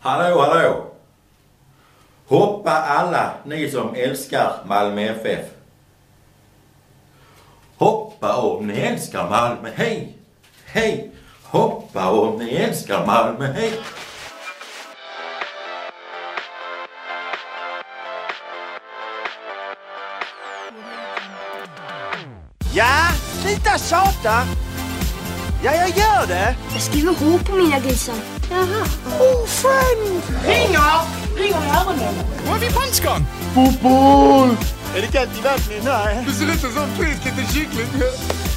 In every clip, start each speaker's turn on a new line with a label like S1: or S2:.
S1: Hallå, hallå! Hoppa alla ni som älskar Malmö FF. Hoppa om ni älskar Malmö, hej! Hej! Hoppa om ni älskar Malmö, hej!
S2: Ja, sluta tjata! Ja, jag gör det!
S3: Jag skriver H på mina grisar. Jaha.
S2: Är det kallt i vattnet? Nej. Du ser ut som frisk liten kyckling.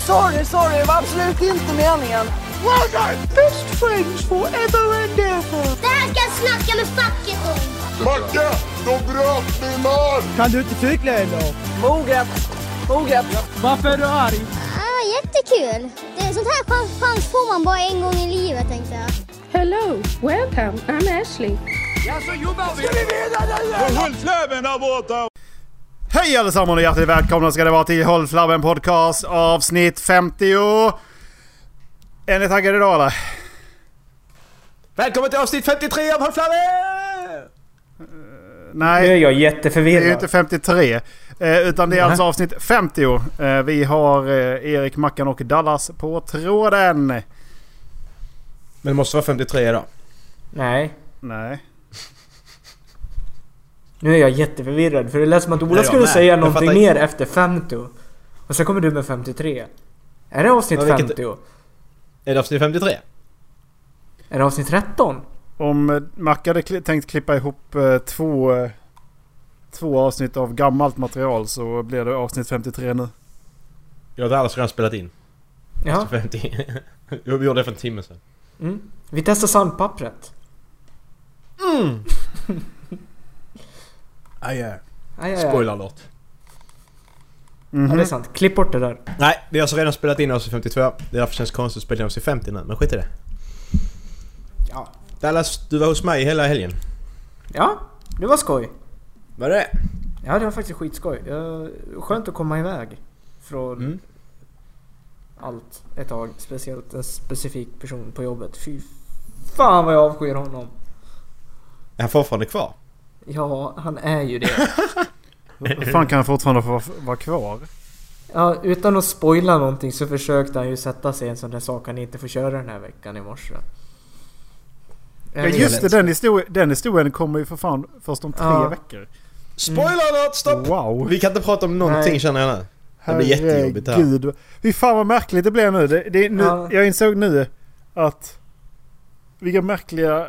S2: Sorry, sorry, det var absolut inte meningen. Well done! Best friends forever and ever.
S4: Det här ska jag snacka med facket om.
S2: Moget, moget.
S4: Ah, jättekul. Det, sånt här chans, chans får man bara en gång i livet tänkte jag.
S5: Hello, welcome. I'm Ashley.
S6: Hej allesammans och hjärtligt välkomna ska det vara till Håll Flabben Podcast avsnitt 50. Är ni taggade idag eller?
S2: Välkommen till avsnitt 53 av Håll Flammen!
S7: Nu är
S6: Eh, Nej,
S7: jag
S6: det är ju
S7: jätteförvirrad.
S6: inte 53. eh, Utan det är alltså avsnitt 50. Eh, Vi har eh, Erik, Mackan och Dallas på tråden.
S8: Men det måste vara 53 idag.
S7: Nej.
S6: Nej.
S7: Nu är jag jätteförvirrad för det lät som att Ola
S8: jag
S7: skulle
S8: med.
S7: säga
S8: Jag
S7: någonting
S8: fattar
S7: mer efter 50. Och sen kommer du med 53. Är det avsnitt
S8: Ja, vilket-
S7: 50?
S8: Är det avsnitt 53?
S7: Är det avsnitt 13?
S6: Om eh, Mackan hade kli- tänkt klippa ihop eh, två, eh, två avsnitt av gammalt material så blir det avsnitt 53 nu.
S8: Jag hade alldeles redan spelat in.
S7: Ja.
S8: 50. Jag gjorde det för en timme sedan.
S7: Mm. Vi testar sandpappret.
S8: Ah, yeah.
S7: Aj, aj, aj.
S8: Spoiler alert.
S7: Ja, det är sant. Klipp bort det där.
S8: Nej, vi har alltså redan spelat in avsnitt 52. Det är därför känns konstigt att spela in avsnitt 50 nu, men skit i det.
S7: Ja.
S8: Dallas, du var hos mig hela helgen.
S7: Ja, det var skoj.
S8: Var det?
S7: Ja, det var faktiskt skitskoj. Eh, Skönt att komma iväg. Från
S8: Mm.
S7: allt ett tag. Speciellt en specifik person på jobbet. Fy fan vad jag avskyr honom.
S8: Är han fortfarande kvar?
S7: Ja, han är ju det.
S6: Hur fan kan han fortfarande få vara- vara kvar?
S7: Ja, utan att spoila någonting så försökte han ju sätta sig i en sån där sak han inte får köra den här veckan i morse.
S6: Ja just det, den, histori- den historien kommer ju för fan först om tre
S7: Ja.
S6: veckor.
S8: Spoiler alert! Stopp!
S6: Wow!
S8: Vi kan inte prata om någonting
S7: Nej.
S8: känner jag nu. Det blir jättejobbigt här.
S6: Herregud. Fy fan vad märkligt det blev nu. Det, det, är nu
S7: Ja.
S6: Jag insåg nu att... Vilka märkliga...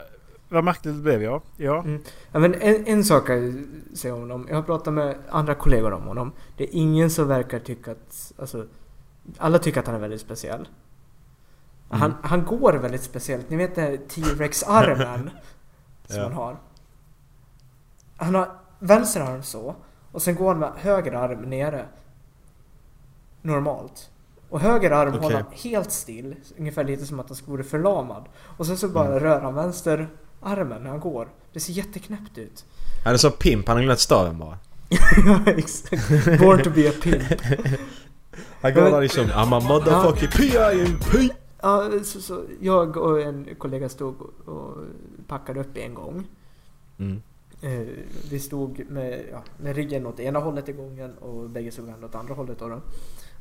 S6: Vad märkligt det blev ja. ja.
S7: Ja, men en, en sak kan jag ju säga om honom. Jag har pratat med andra kollegor om honom. Det är ingen som verkar tycka att... Alltså, alla tycker att han är väldigt speciell.
S8: Mm.
S7: Han, han går väldigt speciellt. Ni vet den här T-Rex-armen som
S8: Ja.
S7: han har. Han har vänster arm så och sen går han med höger arm nere. Normalt. Och höger arm
S8: Okej.
S7: håller han helt still. Ungefär lite som att han skulle vore förlamad. Och sen så bara
S8: Mm.
S7: rör han vänster armen när han går. Det ser jätteknäppt ut.
S8: Han är så pimp, han har glömt staven bara.
S7: Ja, exakt. Born to be a pimp.
S8: Han går
S7: Men-
S8: där liksom I'm a motherfucking P.I.M.P.
S7: Ja, så, så jag och en kollega stod och- och packade upp i en gång.
S8: Mm.
S7: Eh, vi stod med, ja, med ryggen åt ena hållet i gången och bägge stod varandra åt andra hållet. Då då.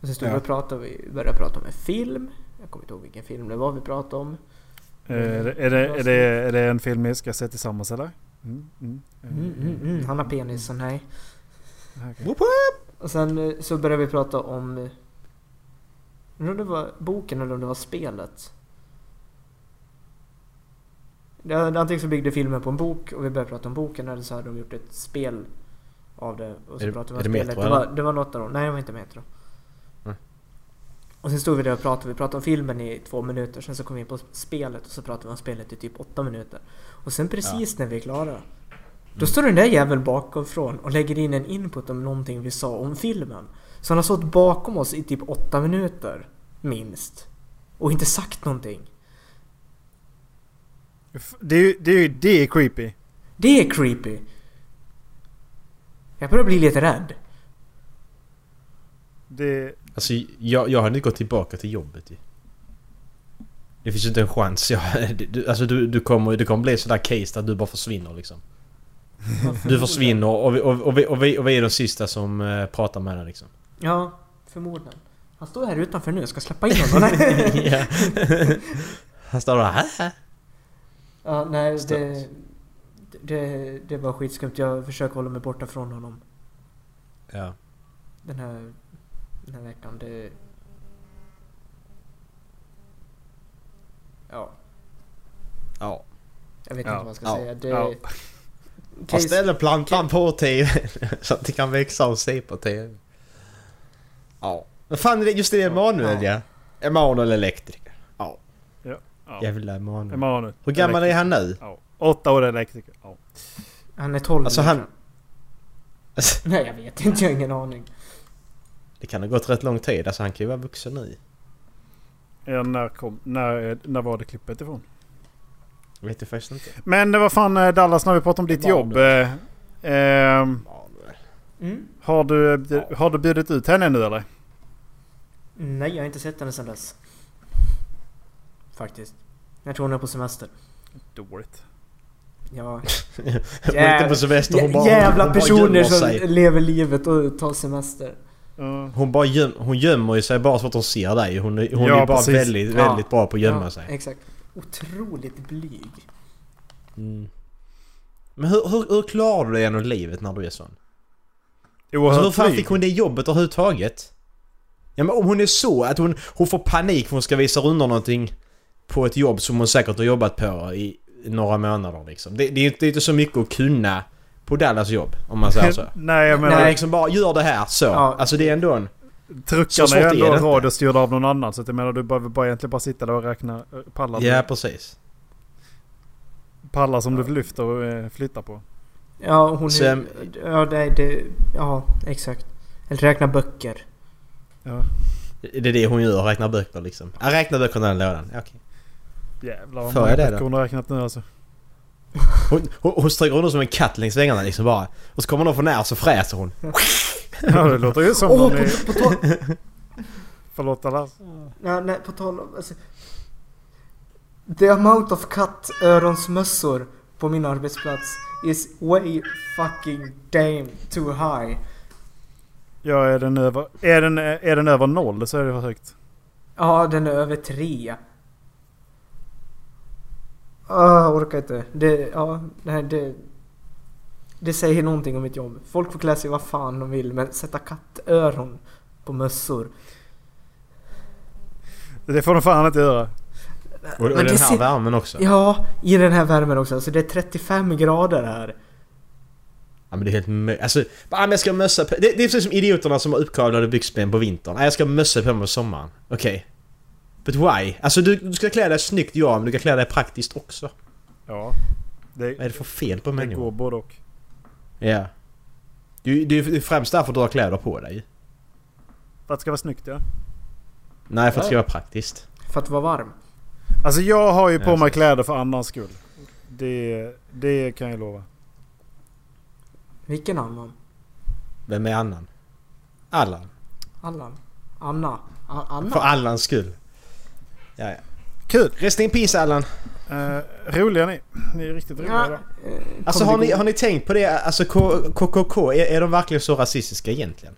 S7: Och sen stod vi
S8: Ja.
S7: och pratade vi började prata om en film. Jag kommer inte ihåg vilken film det var vi pratade om.
S8: Mm.
S6: Eh, är, det, är, det, är, det, är det en film vi ska se tillsammans eller? Mm, mm,
S7: Mm, mm, mm, han har penisen, nej.
S6: okej.
S8: Woop, woop.
S7: Och sen eh, så började vi prata om... eh, Undrar om det var boken eller om det var spelet. Det var- Antingen så byggde filmen på en bok och vi började prata om boken eller så hade de gjort ett spel av det. Och så
S8: Är det-
S7: pratade vi
S8: är
S7: om
S8: det
S7: spelet.
S8: Metro,
S7: det, var,
S8: eller?
S7: det var något av dem. Nej, det var inte Metro.
S8: Nej.
S7: Och sen stod vi där och pratade. Vi pratade om filmen i två minuter. Sen så kom vi in på spelet och så pratade vi om spelet i typ åtta minuter. Och sen precis när vi är klara då står den där jäveln bakomfrån och lägger in en input om någonting vi sa om filmen. Så han har stått bakom oss i typ åtta minuter, minst. Och inte sagt någonting.
S6: F- Det är ju det är, ju- det är creepy.
S7: Det är creepy! Jag börjar bli lite rädd.
S6: Det,
S8: Alltså jag, jag hade inte gått tillbaka till jobbet ju. Det finns ju inte en chans. Ja, du, alltså du, du, kommer, du kommer bli sådär case att du bara försvinner liksom. Du försvinner och vi, och, och, vi, och, vi, och vi är de sista som eh, pratar med dig liksom.
S7: Ja, förmodligen. Han står här utanför nu, jag ska släppa in honom. Nej.
S8: Ja. Han står där här.
S7: ja, nej, det,
S8: Stört.
S7: det, det var skitskumt. Jag försöker hålla mig borta från honom
S8: Ja.
S7: den här, den här veckan. Det... Ja,
S8: ja.
S7: jag vet
S6: Ja.
S7: inte vad man ska
S8: Ja.
S7: säga. Det...
S6: Ja.
S8: Och
S7: Case...
S8: ställer plantan på TV så att det kan växa och se på TV. Ja. Men fan är det just det Emanuel ja. Emanuel elektriker. Ja.
S6: Ja. Ja.
S8: Jävla Emanuel.
S6: Emanuel.
S8: Hur gammal är han nu?
S6: Ja. Åtta år elektriker. Ja.
S7: Han är 12
S8: Alltså,
S7: nu,
S8: han-
S7: tror jag. Nej, jag vet inte. Jag har ingen aning.
S8: Det kan ha gått rätt lång tid. Alltså han kan ju vara vuxen nu.
S6: Ja, när, kom, när, när var det klippet ifrån?
S8: Jag vet ju faktiskt inte.
S6: Men eh, vad fan eh, Dallas, när vi pratar om ditt
S8: Emanuel.
S6: jobb. Eh, ehm,
S8: Emanuel.
S7: Mm?
S6: har, du, eh, bjud- har du bjudit ut henne nu eller?
S7: Nej, jag har inte sett henne sedan dess. Faktiskt. Jag tror hon är på semester.
S8: Alltså,
S6: Dåligt.
S7: Ja,
S8: Hon är
S7: Jävla-
S8: inte på semester. Hon bara,
S7: jävla
S8: hon bara
S7: personer
S8: gömmer
S7: som
S8: sig.
S7: lever livet och tar semester.
S6: Ja.
S8: Hon bara göm, hon gömmer ju sig bara så att hon ser dig. Hon, är- hon
S6: Ja,
S8: är bara
S6: precis.
S8: väldigt, väldigt
S7: Ja.
S8: bra på att gömma
S7: ja,
S8: sig.
S7: Exakt. Otroligt blyg.
S8: Mm. Men hur, hur, hur klarar du dig genom livet när du är sån? Så hur
S6: Oerhört
S8: fan
S6: blyg.
S8: fick hon det jobbet överhuvudtaget? Ja men om hon är så att hon, hon får panik för hon ska visa runder någonting på ett jobb som hon säkert har jobbat på i några månader liksom. Det, det, är, ju inte- det är inte så mycket att kunna på Dallas jobb om man säger så.
S6: Nej jag menar
S8: Men
S7: Nej.
S8: liksom bara gör det här så.
S7: Ja.
S8: Alltså det är ändå en... Så
S6: truckarna
S8: svårt
S6: är
S8: är
S6: ändå
S8: det inte.
S6: radiostyrda av någon annan. Så att jag menar du behöver bara egentligen bara sitta där och räkna eh, pallar,
S8: Ja precis.
S6: pallar som du lyfter och eh, flyttar på.
S7: Ja, hon är...
S8: Sen-
S7: Ja, det, det, ja, exakt. Eller räkna böcker.
S8: Det är det hon gör, räknar böcker liksom. Ja, räkna böckerna i den lådan. Ja, Okej.
S6: Jävlar vad
S8: Får
S6: många
S8: jag det
S6: veckor
S8: då?
S6: hon har räknat nu alltså.
S8: Hon, hon, hon stryker under som en katt längs väggarna liksom bara. Och så kommer någon för nära så fräser hon.
S6: Ja det låter ju som
S7: Åh,
S6: någon
S7: på,
S6: i...
S7: på tal...
S6: Förlåt Dallas.
S7: Nej, nej, på tal om... Alltså, the amount of cut öronsmössor på min arbetsplats is way fucking damn too high.
S6: Ja är den över, är den, eh, är den över noll så är det för högt.
S7: Ja, den är över tre. Ah, jag orkar inte. Det, ja, nej, det... Det säger någonting om mitt jobb. Folk får klä sig vad fan de vill, men sätta kattöron på mössor.
S6: Det får de fan inte göra.
S8: Och, och
S7: Men det
S8: den här
S7: ser-
S8: värmen också. Ja.
S7: Ja, i den här värmen också. Alltså det är 35 grader här.
S8: men det är helt mö- Alltså, bara, men jag ska ha mössa på... Det, det är precis som idioterna som har uppkavlade byxben på vintern. Nej, jag ska ha mössa på mig på sommaren. Okej. But why? Alltså du, du ska klä dig snyggt ja, men du kan klä dig praktiskt också.
S6: Ja.
S8: Vad är
S6: Det,
S8: det för fel på
S6: det
S8: människor?
S6: går både och.
S8: Ja. Det, det är ju främst därför du har kläder på dig.
S6: För att det ska vara snyggt ja.
S8: Nej, för att det ska vara praktiskt.
S7: För att vara varm.
S6: Alltså jag har ju på
S8: Ja,
S6: mig
S8: precis.
S6: kläder för annans skull. Det, det kan jag lova.
S7: Vilken annan?
S8: Vem är annan? Allan.
S7: Allan? Anna? A-
S8: För
S7: Anna?
S8: Allans skull. Ja, ja.
S6: Kul!
S8: Rest in peace Allan.
S6: Eh, roliga ni. Ni är riktigt roliga
S7: Ja,
S6: idag.
S7: eh,
S8: Alltså
S7: kommer
S8: har
S7: det
S8: ni,
S7: gå-
S8: har ni tänkt på det? Alltså K- KKK, är, är de verkligen så rasistiska egentligen?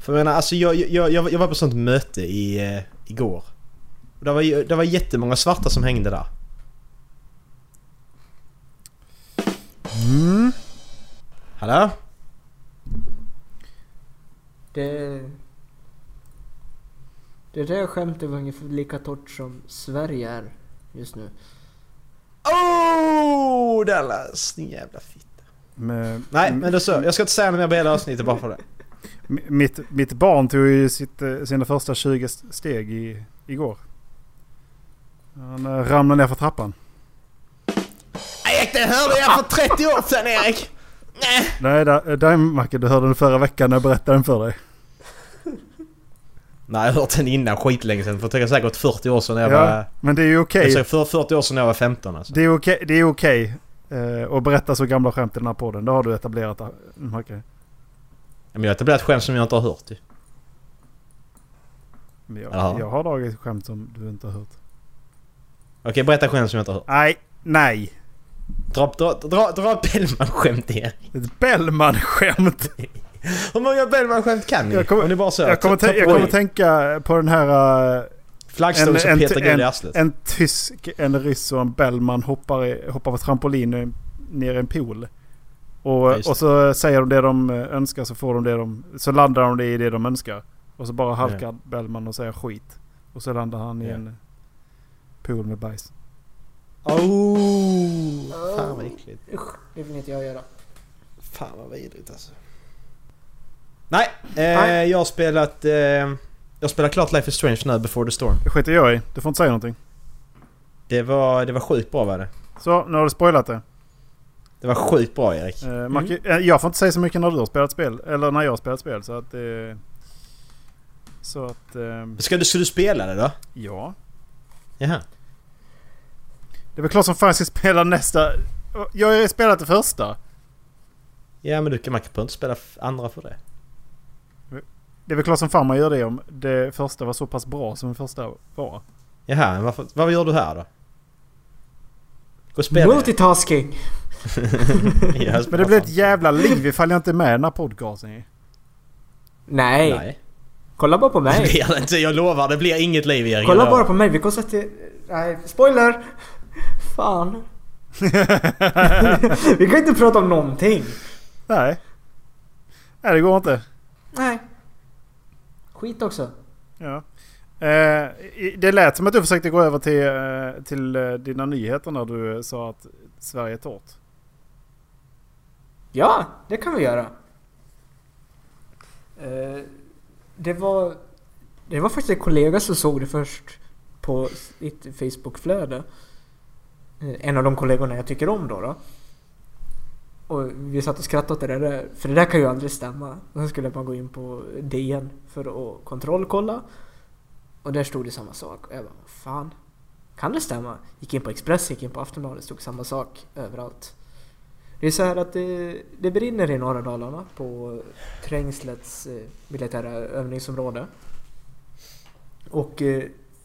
S8: För jag menar, alltså jag, jag, jag, jag var på sånt möte i, eh, igår. Och det var, ju- det var jättemånga svarta som hängde där. Mm. Hallå?
S7: Det... Det där skämtet var ungefär lika torrt som Sverige är just nu.
S8: Oh Dallas, din jävla fitta.
S6: Men-
S8: Nej men då så, jag ska inte säga något mer på hela avsnittet bara för det.
S6: M- Mitt, mitt barn tog ju sitt, eh, sina första 20 st- steg i, igår. Han eh, ramlade ner för trappan.
S8: Erik det hörde jag för 30 år sedan Erik!
S6: Nej, där- eh, där Macke, du hörde den förra veckan när jag berättade den för dig.
S8: Nej jag har hört den innan skitlänge sedan för det är säkert 40 år sedan när jag var...
S6: men det är ju okej.
S8: Jag sa för 40 år sedan när jag var 15 alltså.
S6: Det är okej, det är okej eh, att berätta så gamla skämt i den här podden. Det har du etablerat eh, Macke.
S8: Men jag har etablerat skämt som jag inte har hört ju.
S6: Men jag,
S8: Jaha.
S6: jag har dragit ett skämt som du inte har hört.
S8: Okej, berätta skämt som jag inte har hört.
S6: Nej, nej.
S8: Dra, dra, dra, dra Bellman-skämt igen.
S6: Ett Bellman-skämt.
S8: Hur många Bellman-skämt kan ni?
S6: Jag kommer-
S8: Om ni bara så.
S6: Jag kommer,
S8: ta-
S6: tän-
S8: ta
S6: jag
S8: på
S6: kommer
S8: er.
S6: tänka på den här... eh,
S8: Flaggstång som Peter Guld i arslet.
S6: en tysk, en ryss och en Bellman hoppar, i- hoppar på trampolin i- ner i en pool. Och,
S8: Ja, just
S6: och så säger de det de eh, önskar så får de det de... Så landar de det i det de önskar. Och så bara halkar Bellman och säger skit. Och så landar han i
S8: Ja.
S6: en pool med bajs.
S8: Oh, fan vad äckligt.
S7: Usch, det vill inte jag göra.
S8: Fan vad vidrigt alltså. Nej, eh,
S7: Nej.
S8: jag har spelat... Eh, jag spelar klart Life is Strange nu, Before the Storm.
S6: Det skiter jag i. Du får inte säga någonting.
S8: Det var, det var sjukt bra var det.
S6: Så, nu har du spoilat det.
S8: Det var sjukt bra Erik.
S6: Eh, Macke, eh, Jag får inte säga så mycket när du har spelat spel. Eller när jag har spelat spel. Så att... Eh, så att... Eh,
S8: Ska du, ska du spela det då?
S6: ja.
S8: Jaha.
S6: Det är väl klart som fan jag ska spela nästa. Jag har ju spelat det första.
S8: Ja men du kan, man kan inte spela f- andra för det.
S6: Det är väl klart som fan man gör det om det första var så pass bra som det första var.
S8: Jaha, men varför, vad gör du här då? Gå och spela det.
S7: Multitasking!
S8: Ja,
S6: Men det blir ett jävla liv ifall jag inte är med i den här podcasten ju.
S7: Nej.
S8: Nej.
S7: kolla bara på
S8: Det
S7: mig.
S8: blir det inte, jag lovar. Det blir inget liv Erik.
S7: Kolla
S8: jag
S7: bara
S8: lovar.
S7: på mig, vi konstaterar... Nej, spoiler! Fan. vi kan inte prata om någonting.
S6: Nej. Nej det går inte.
S7: Nej. Skit också.
S6: Ja. Eh, i- det lät som att du försökte gå över till, eh, till eh, dina nyheter när du eh, sa att Sverige är torrt.
S7: Ja, det kan vi göra. Eh, det var... Det var faktiskt en kollega som såg det först på sitt Facebookflöde. Eh, En av de kollegorna jag tycker om då. då. Och vi satt och skrattade åt det där, för det där kan ju aldrig stämma. Och sen skulle man gå in på DN för att kontrollkolla. Och där stod det samma sak. Och jag bara, "Vad fan. Kan det stämma? Gick in på Express, gick in på Aftonbladet, stod samma sak överallt. Det är så här att det, det brinner i norra Dalarna på Trängslets eh, militära övningsområde. Och eh,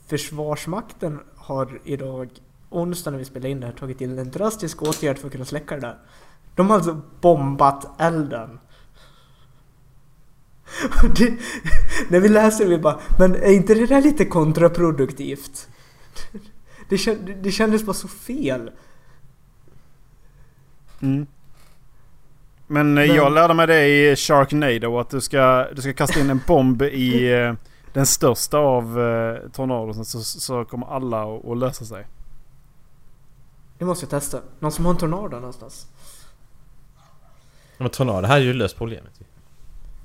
S7: Försvarsmakten har idag, onsdag när vi spelar in det här, tagit till en drastisk åtgärd för att kunna släcka det där. De har alltså bombat elden. Och Det, när vi läser det vi bara, men är inte det där lite kontraproduktivt? Det, kän- det kändes bara så fel.
S6: Mm. Men, eh, jag lärde mig det i Sharknado att du ska, du ska kasta in en bomb i eh, den största av eh, tornadon så, så kommer alla att att lösa sig.
S7: Det måste jag testa. Någon som har en tornado någonstans?
S8: Men tornado, det här är ju löst problemet ju.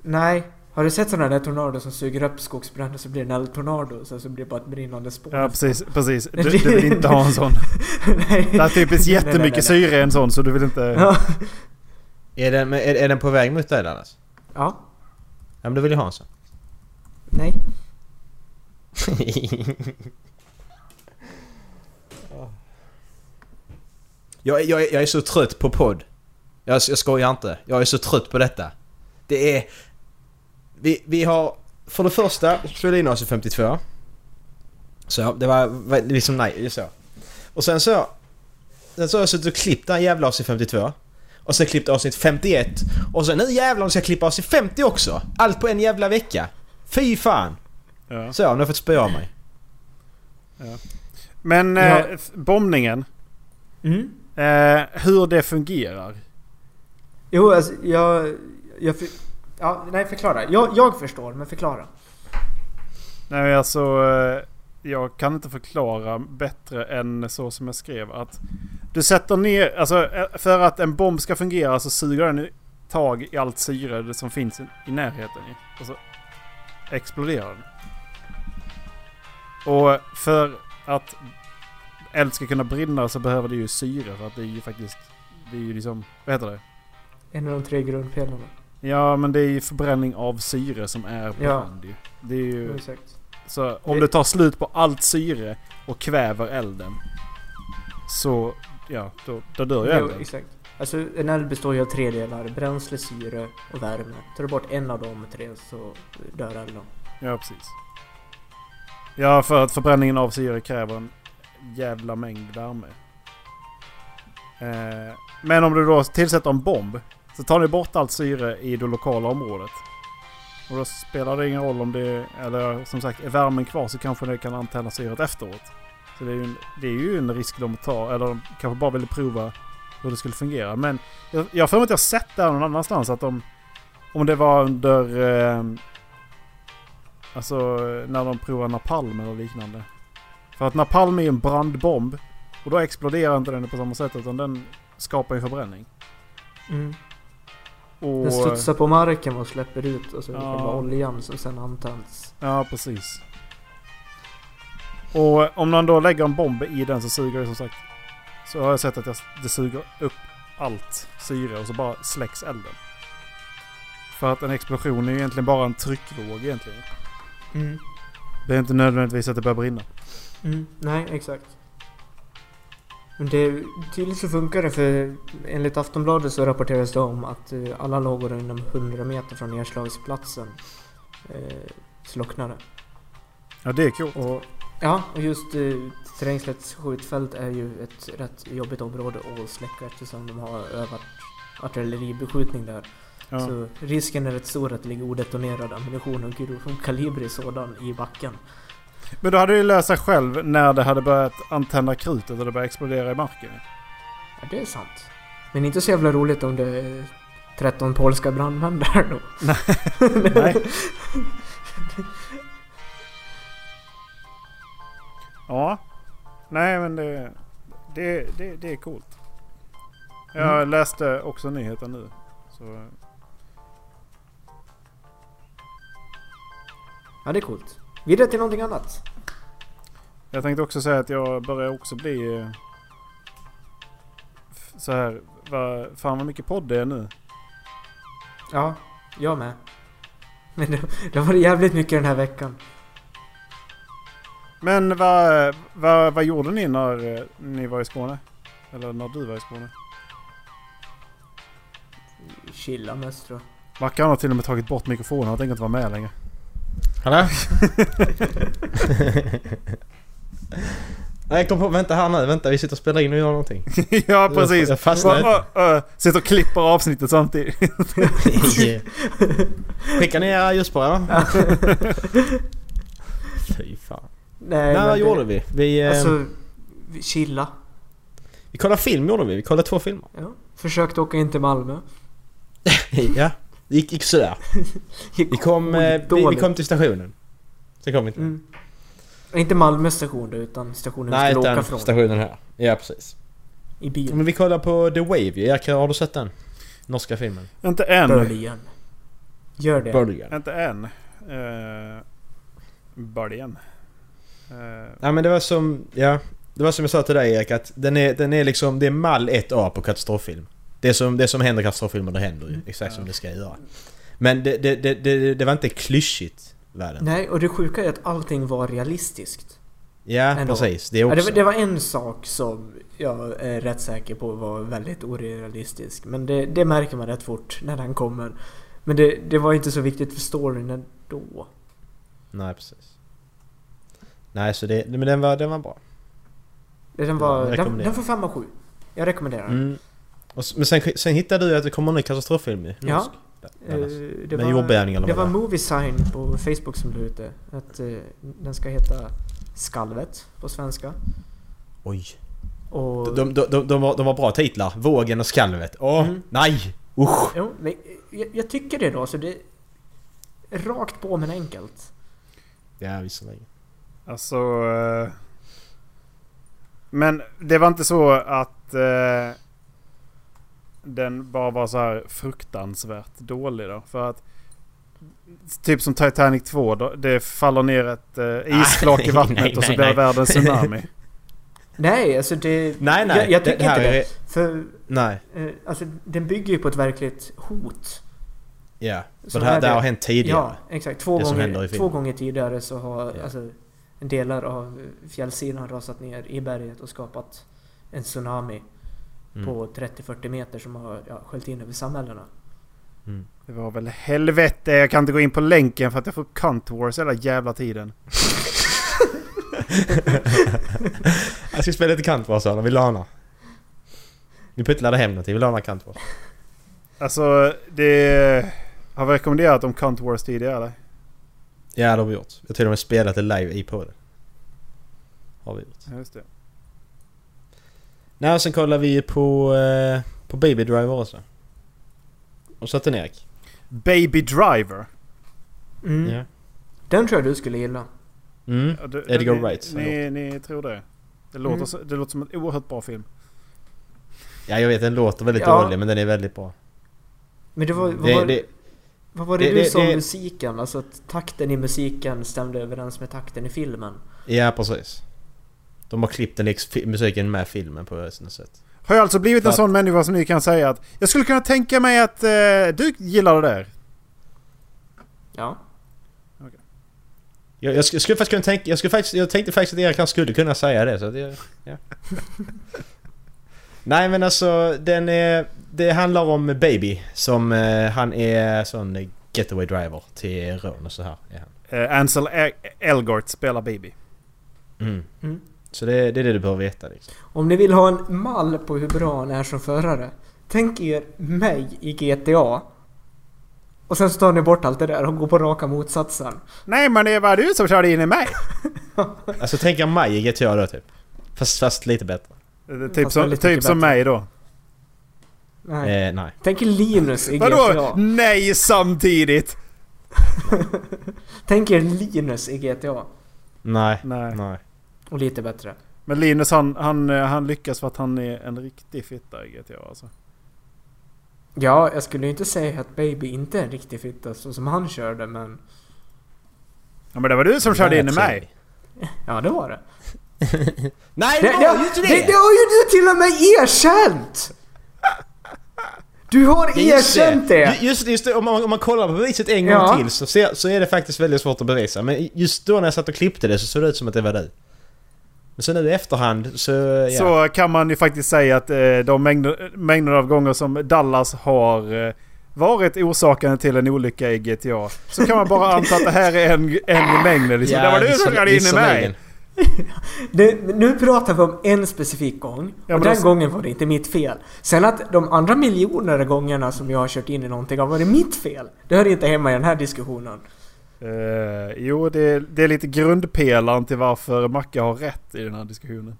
S7: Nej. Har du sett sådana där tornador som suger upp skogsbränder så blir det en eldtornado sen så blir det bara ett brinnande spår?
S6: Ja precis, precis. Du, du vill inte ha en sån.
S7: Nej.
S6: Det är typiskt
S7: Nej, nej, nej, nej.
S6: jättemycket syre i en sån så du vill inte...
S7: Ja.
S8: Är den, men är, är den på väg mot dig Dallas?
S7: ja.
S8: Ja men du vill ju ha en sån.
S7: Nej.
S8: jag, är- jag, är- jag är så trött på podd. Jag, jag skojar inte. Jag är så trött på detta. Det är... Vi, vi har... För det första spelade in oss i 52. Så det var var liksom nej, så. Och sen så... Sen så har jag suttit och klippt den jävla avsnitt 52. Och sen klippt avsnitt 51. Och sen nu jävlar ska jag klippa avsnitt 50 också! Allt på en jävla vecka! Fy fan!
S6: Ja.
S8: Så, nu har jag fått spöa av mig.
S6: Men eh,
S7: Ja.
S6: f- bombningen.
S7: Mm.
S6: Eh, hur det fungerar.
S7: Jo, alltså jag... jag för, ja, nej, förklara. Jag, jag förstår, men förklara.
S6: Nej alltså, eh, jag kan inte förklara bättre än så som jag skrev. Att du sätter ner, alltså eh, för att en bomb ska fungera så suger den tag i allt syre som finns i- i närheten. ju. Och så exploderar den. Och för att eld ska kunna brinna så behöver det ju syre för att det är ju faktiskt, det är ju liksom, vad heter det?
S7: En av de tre grundpelarna.
S6: Ja men det är ju förbränning av syre som är brand ju. Det är ju...
S7: Mm. Exakt.
S6: Så om det tar slut på allt syre och kväver elden. Så, ja, då, då dör ju
S7: Jo,
S6: elden.
S7: exakt. Alltså en eld består ju av tre delar. Bränsle, syre och värme. Tar du bort en av de tre så dör elden.
S6: Ja, precis. Ja, för att förbränningen av syre kräver en jävla mängd värme. Eh, men om du då tillsätter en bomb så tar ni bort allt syre i det lokala området. Och då spelar det ingen roll om det eller som sagt är värmen kvar så kanske det kan antända syret efteråt. Så det är ju en, det är ju en risk de tar, eller de kanske bara ville prova hur det skulle fungera. Men jag- jag har för mig att jag har sett det här någon annanstans att de, om det var under eh, Alltså eh, när de provar napalm eller liknande. För att napalm är ju en brandbomb. Och då exploderar inte den på samma sätt utan den skapar ju förbränning.
S7: Mm.
S6: Och,
S7: Den studsar på marken och släpper ut och så är det
S6: Ja.
S7: själva oljan som sen antänds.
S6: Ja, precis. Och om man då lägger en bomb i den så suger det som sagt. Så har jag sett att jag, det suger upp allt syre och så bara släcks elden. För att en explosion är ju egentligen bara en tryckvåg egentligen.
S7: Mm.
S6: Det är inte nödvändigtvis att det börjar brinna.
S7: Mm. Nej, exakt. Men det, tydligen så funkar det för enligt Aftonbladet så rapporteras det om att eh, alla lågor inom 100 meter från nedslagsplatsen eh, slocknade.
S6: Ja, det är coolt.
S7: Och, ja, och just eh, Trängslets skjutfält är ju ett rätt jobbigt område att släcka eftersom de har övat artilleribeskjutning där.
S6: Ja.
S7: Så risken är rätt stor att det ligger odetonerad ammunition och grov kaliber i sådan i backen.
S6: Men då hade du ju löst sig själv när det hade börjat antända krutet och det började explodera i marken.
S7: Ja, det är sant. Men inte så jävla roligt om det är 13 polska brandmän där då.
S6: Nej. Ja. Nej men det, det, det, det är coolt. Jag läste också nyheten nu. Så,
S7: Ja, det är coolt. Vidare till någonting annat.
S6: jag tänkte också säga att jag börjar också bli eh, f- så här. Va, fan vad mycket podd det är nu.
S7: Ja, jag med. Men det, det har varit jävligt mycket den här veckan.
S6: Men vad va, vad gjorde ni när eh, ni var i Skåne? Eller när du var i Skåne?
S7: Chilla mest tror jag.
S6: Mackan har till och med tagit bort mikrofonen. Han tänker inte vara med längre.
S8: Hallå? Nej, jag kom på, vänta här nu, vänta vi sitter och spelar in och gör någonting.
S6: ja, precis.
S8: Jag fastnade.
S6: Va- va- ö, sitter och klipper avsnittet samtidigt.
S8: Skicka ner era ljusspår va? Fy fan.
S7: Nej,
S8: Nej,
S7: men
S8: vad
S7: det-
S8: gjorde vi? Vi, eh,
S7: Alltså, vi- chilla.
S8: vi kollade film gjorde vi, vi kollade två filmer.
S7: Ja. Försökte åka in till Malmö.
S8: ja, det gick, gick sådär.
S7: Gick
S8: Vi kom, eh, vi, vi
S7: skitdåligt.
S8: kom till stationen. Sen kom vi inte.
S7: Mm. Inte Malmö station då, utan stationen vi
S8: Nej,
S7: skulle åka
S8: utan
S7: från.
S8: stationen här. Ja, precis.
S7: I bil.
S8: Men vi kollar på The Wave Jerker, har du sett den? Norska filmen.
S6: inte än.
S7: Böljen. Gör det.
S8: Början.
S6: Inte än. Uh, Böljen. Eh,
S8: Ja men det var som, ja. Det var som jag sa till dig Erik att den är, den är liksom, det är mall 1A på katastroffilm. Det som, det som händer i katastroffilmer det händer
S7: Mm.
S8: ju. Exakt som det ska göra. Men det, det, det, det, det var inte klyschigt. Världen.
S7: Nej, och det sjuka är att allting var realistiskt.
S8: Ja
S7: Ändå.
S8: precis, det är
S7: Ja,
S8: också.
S7: det, var- det var en sak som jag är rätt säker på var väldigt orealistisk. Men det, det märker man rätt fort när den kommer. Men det, det var inte så viktigt för storyn ändå.
S8: Nej precis. Nej så det, men den var, den var bra.
S7: Den, var,
S8: Jag
S7: den,
S8: rekommenderar.
S7: den får 5 av 7. Jag rekommenderar den.
S8: Mm. Och, s- men sen, sen hittade du att det kommer en ny katastroffilm ju.
S7: Ja.
S8: norsk.
S7: Eh,
S8: Dallas.
S7: det
S8: Med
S7: var-
S8: jordbävning eller
S7: Det
S8: vad
S7: var
S8: det var.
S7: Moviesign på Facebook som la ut det. Att eh, den ska heta Skalvet på svenska.
S8: Oj.
S7: Och...
S8: De, de, de, de, var, de var bra titlar. Vågen och skalvet. Åh,
S7: Mm.
S8: nej! Usch!
S7: Jo, men jag, jag tycker det då. Så det... Rakt på men enkelt.
S8: Ja, visserligen.
S6: alltså... eh, men det var inte så att eh, den bara var så här fruktansvärt dålig då. För att Typ som Titanic 2, då, det faller ner ett eh, isflak i
S8: Nej,
S6: vattnet
S8: nej,
S6: och så
S8: nej,
S6: blir det
S8: nej.
S6: världens tsunami.
S7: Nej, alltså det...
S8: Nej, nej.
S7: Jag, jag tycker
S8: här
S7: inte det.
S8: är-
S7: För
S8: Nej,
S7: eh, alltså, den bygger ju på ett verkligt hot.
S8: ja.
S7: Så
S8: För det här,
S7: här
S8: det
S7: är-
S8: har hänt tidigare.
S7: Ja, exakt. Två,
S8: Det som händer
S7: gånger,
S8: i filmen.
S7: två gånger tidigare så har
S8: Ja.
S7: alltså, delar av fjällsidan rasat ner i berget och skapat en tsunami
S8: Mm.
S7: på 30-40 meter som har ja, sköljt in över samhällena.
S6: Det var väl helvete, jag kan inte gå in på länken för att jag får upp Cunt Wars hela jävla tiden.
S8: Jag ska spela lite kantvarsöner, vill du ha några? Vi pyttlade hem någonting, vill du ha några kantvars?
S6: Alltså det... Har vi rekommenderat om Cunt Wars tidigare eller?
S8: Ja det har vi gjort. Jag tror de har spelat det live i podden. Har vi gjort.
S6: Ja, just det.
S8: Nej och sen kollade vi på, eh, på Baby Driver också. Och satte ner Erik.
S6: Baby Driver.
S7: Mm.
S8: Ja.
S7: Den tror jag du skulle gilla.
S8: Mm.
S6: Ja, du-
S8: Edgar
S6: ni-
S8: Wright har
S6: Ni, ni tror det? Det låter,
S7: Mm.
S6: så, det låter som en oerhört bra film.
S8: Ja jag vet den låter väldigt
S7: Ja.
S8: dålig men den är väldigt bra.
S7: Men det var, vad,
S8: Mm. Det,
S7: var,
S8: det,
S7: vad var det,
S8: det-
S7: du
S8: det-
S7: sa om
S8: det-
S7: musiken? Alltså att takten i musiken stämde överens med takten i filmen.
S8: ja precis. De har klippt den liksom, fi- musiken med filmen på sina sätt.
S6: Har jag alltså blivit en
S8: Att-
S6: sån människa som ni kan säga att jag skulle kunna tänka mig att eh, du gillar det där?
S7: Ja.
S8: Jag, jag, skulle, jag skulle faktiskt kunna tänka, jag, skulle faktiskt, jag tänkte faktiskt att Erik kanske skulle kunna säga det så att jag, ja. Nej men alltså den är, det handlar om Baby som eh, han är sån eh, getaway driver till rån och så här är han.
S6: Eh, Ansel E- Elgort spelar Baby.
S8: Mm.
S7: Mm.
S8: Så det, det är det du behöver veta liksom.
S7: Om ni vill ha en mall på hur bra han är som förare. Tänk er mig i GTA. Och sen så tar ni bort allt det där och går på raka motsatsen.
S6: Nej men det var du som körde in i mig!
S8: Alltså tänk er Maj i GTA då typ. Fast, fast lite bättre.
S6: Eh, Typ,
S7: Fast
S6: som,
S7: väldigt
S6: typ
S7: mycket
S6: som
S7: bättre.
S6: mig då.
S7: Nej.
S8: Nej. Eh, nej.
S7: Tänk er Linus i
S6: Vadå?
S7: GTA.
S6: Nej samtidigt!
S7: Tänk er Linus i GTA.
S8: Nej.
S6: Nej.
S8: Nej.
S7: Och lite bättre.
S6: Men Linus han, han, eh, han lyckas för att han är en riktig fitta i GTA alltså.
S7: Ja, jag skulle ju inte säga att Baby inte är en riktig fitta så som han körde men...
S6: Ja men det var du som körde in i mig!
S7: Ja, det var det.
S8: Nej
S7: Det, det,
S8: det var ju
S7: det,
S8: inte
S7: det,
S8: det!
S7: har ju du till och med erkänt! Du har
S8: Ja, just
S7: erkänt det!
S8: Ju- Just, just det, om man, om man kollar på beviset en gång
S7: Ja.
S8: till så, ser, så är det faktiskt väldigt svårt att bevisa. Men just då när jag satt och klippte det så såg det ut som att det var du. Men så nu i efterhand så... Ja.
S6: Så liksom, kan man ju faktiskt säga att eh, de mängder, mängder av gånger som Dallas har eh, varit orsaken till en olycka i GTA. Så kan man bara anta att det här är en, en mängd. Liksom. det var du som
S8: visser-
S6: körde in i mig!
S8: visserligen.
S7: Nu, nu pratar vi om en specifik gång.
S6: Ja,
S7: och
S6: men
S7: den
S6: då-
S7: gången var det inte mitt fel. Sen att de andra miljoner gångerna som jag har kört in i någonting har varit mitt fel. Det hör inte hemma i den här diskussionen.
S6: Eh, jo, det, det är lite grundpelaren till varför Macke har rätt i den här diskussionen.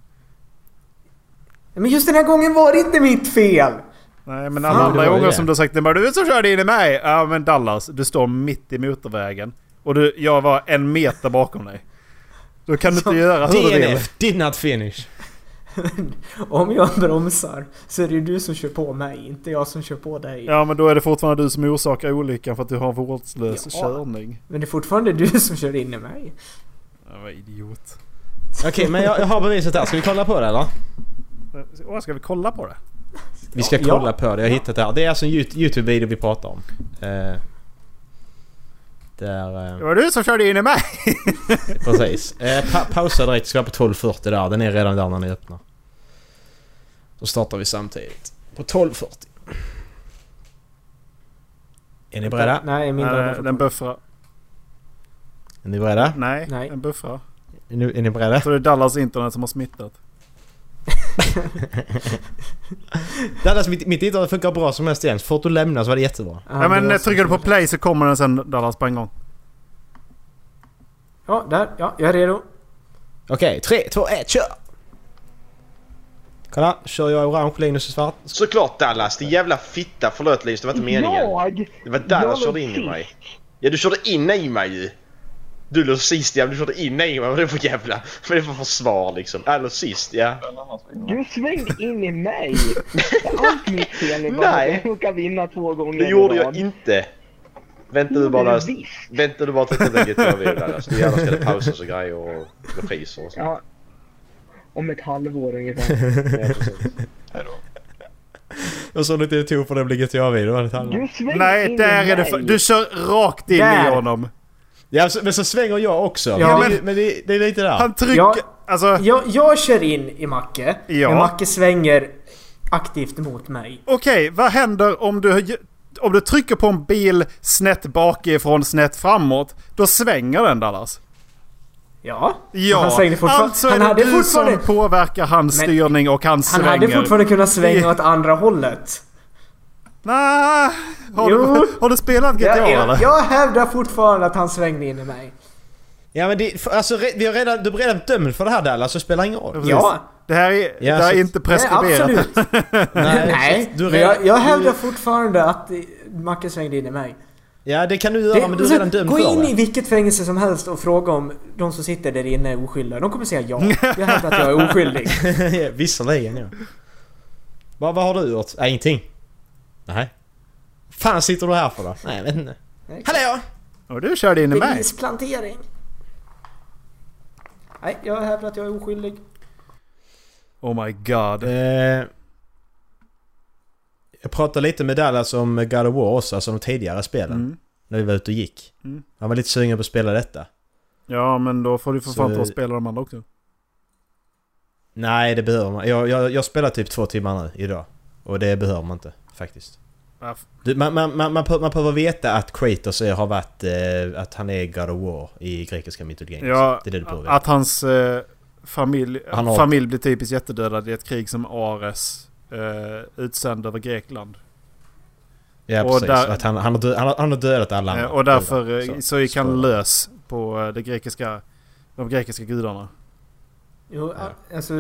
S7: Men just den här gången var det inte mitt fel!
S6: Nej, men alla
S7: Fan,
S6: andra
S8: det var ju
S6: gånger
S8: det.
S6: som du har sagt det var du som körde in i mig! Ja, men Dallas, du står mitt i motorvägen. Och du, jag var en meter bakom dig. Då kan du inte göra hur du vill.
S8: DNF, did not finish.
S7: Om jag bromsar så är det ju du som kör på mig, inte jag som kör på dig.
S6: Ja men då är det fortfarande du som orsakar olyckan för att du har vårdslös
S7: Ja.
S6: körning.
S7: Men det är fortfarande du som kör in i mig.
S6: Ja, vad idiot.
S8: Okej, men jag, jag har beviset här. Ska vi kolla på det eller?
S6: Åh, ska vi kolla på det?
S8: Vi ska
S7: Ja.
S8: kolla på det. Jag har hittat det här. Det är alltså en Yout- YouTube-video vi pratar om. Eh, där...
S6: Det
S8: Eh,
S6: var du som körde in i mig!
S8: precis. Eh, pa pausa direkt. Ska vara på 12.40 där. Den är redan där när ni öppnar. Då startar vi samtidigt. På 12.40. Är ni beredda?
S7: Nej, min
S6: Nej,
S7: bror.
S6: den buffrar.
S8: Är ni beredda?
S6: Nej,
S7: Nej.
S6: den buffrar.
S8: Är ni, är ni beredda?
S6: Så det är Dallas internet som har smittat.
S8: Dallas, mitt, mitt internet funkar bra som helst igen. Så fort du lämnar så var det jättebra.
S7: Ja,
S6: Nej men eh,
S7: det var så-
S6: trycker du på play så kommer den sen Dallas på en gång.
S7: Ja, där. Ja, jag är redo.
S8: Okej, tre, två, ett, kör! Kolla, kör jag orange, Linus är svart.
S9: Såklart Dallas, din jävla fitta. Förlåt Linus, det var inte meningen.
S2: Jag?
S9: Det var Dallas
S2: Jag
S9: som körde in i mig. Ja, du körde in i mig ju. Du låg sist ja, men du körde in i mig. Vad är det för jävla... Vad är det för försvar liksom? Ja, låg sist ja.
S2: Du svängde in i mig! Det är allt mitt fel nu bara för att
S9: Nej.
S2: jag råkar vinna två gånger
S9: Det
S2: i
S9: gjorde
S2: rad.
S9: jag inte. Vänta du
S2: Gjorde
S9: bara...
S2: du visst.
S9: Vänta du bara tills den lägger till video Dallas. Nu jävlar ska alltså. det pausas och grejer och repriser och sånt.
S2: Ja. Om ett halvår ungefär.
S9: Ja, precis.
S8: Jag såg lite tog för det blir GTA-video.
S2: Du svängde
S6: Nej,
S2: in
S6: där
S2: i
S6: är det
S2: mig.
S6: för... Du kör rakt in i
S7: Där.
S6: honom.
S8: Ja, så- men så svänger jag också.
S7: Ja,
S8: men det,
S6: men-
S8: men det, det är lite där.
S6: Han trycker...
S7: Ja.
S6: Alltså,
S7: Jag, jag kör in i Macke,
S6: Ja.
S7: men Macke svänger aktivt mot mig.
S6: okej, vad händer om du... Om du trycker på en bil snett bakifrån, snett framåt. Då svänger den Dallas.
S7: Ja.
S6: Ja,
S7: han svängde fortfarande.
S6: alltså
S7: han
S6: är det
S7: hade
S6: du som
S7: fortfarande...
S6: påverkar hans
S7: Men-
S6: styrning och hans
S7: Han
S6: svänger.
S7: hade fortfarande kunnat
S6: Det-
S7: svänga åt andra hållet.
S6: Nah, har,
S7: Jo.
S6: du, har du spelat GTA
S7: Jag, jag,
S6: eller?
S7: jag hävdar fortfarande att han svängde in i mig.
S8: Ja men det, för- alltså re- vi har redan, du är redan dömd för det här Dallas, så det spelar ingen roll.
S6: Precis.
S7: Ja.
S6: Det här är,
S8: Ja,
S6: det här
S8: så-
S6: är inte
S7: Nej,
S6: preskriberat.
S7: absolut.
S8: Nej,
S7: Nej.
S8: du är
S7: men
S8: redan-
S7: jag, jag
S8: du-
S7: hävdar fortfarande att eh, Macke svängde in i mig.
S8: Ja det kan du göra men du är
S7: så
S8: redan dömd
S7: gå
S8: för
S7: in
S8: det.
S7: i vilket fängelse som helst och fråga om de som sitter där inne är oskyldiga. De kommer säga ja. Jag hävdar att jag är oskyldig.
S8: Ja, Visserligen ja. Vad, vad har du gjort? Nej, ingenting. Nej. fan sitter du här för då? Nej jag vet inte.
S7: Nej.
S8: Hallå!
S6: Och du körde in i mig.
S7: Bevisplantering. Nej, jag hävdar att jag är oskyldig.
S6: Oh my god.
S8: Eh, jag pratade lite med Dallas om God of War också, alltså de tidigare spelen.
S6: Mm.
S8: När vi var ute och gick.
S6: Mm.
S8: Han var lite sugen på att spela detta.
S6: Ja men då får du för
S8: Så-
S6: fan ta och spela de andra också.
S8: Nej det behöver man. Jag, jag, jag spelar typ två timmar nu idag. Och det behöver man inte faktiskt.
S6: Varför?
S8: Du, man, man, man, man, behöver- man behöver veta att Kratos är, har varit... Eh, att han är God of War i grekiska mytologin.
S6: Ja,
S8: det är det du behöver veta.
S6: att hans eh, familj,
S8: Han har-
S6: familj blir typiskt jättedödad i ett krig som Ares eh, utsände över Grekland.
S8: Ja
S6: Och
S8: precis,
S6: där-
S8: att han, han, har dö- han, har, han har dödat alla
S6: Eh,
S8: andra.
S6: och därför eh,
S8: Så,
S6: så, gick han
S8: spoiler.
S6: lös på eh, det grekiska, de grekiska gudarna.
S7: Jo, a- alltså...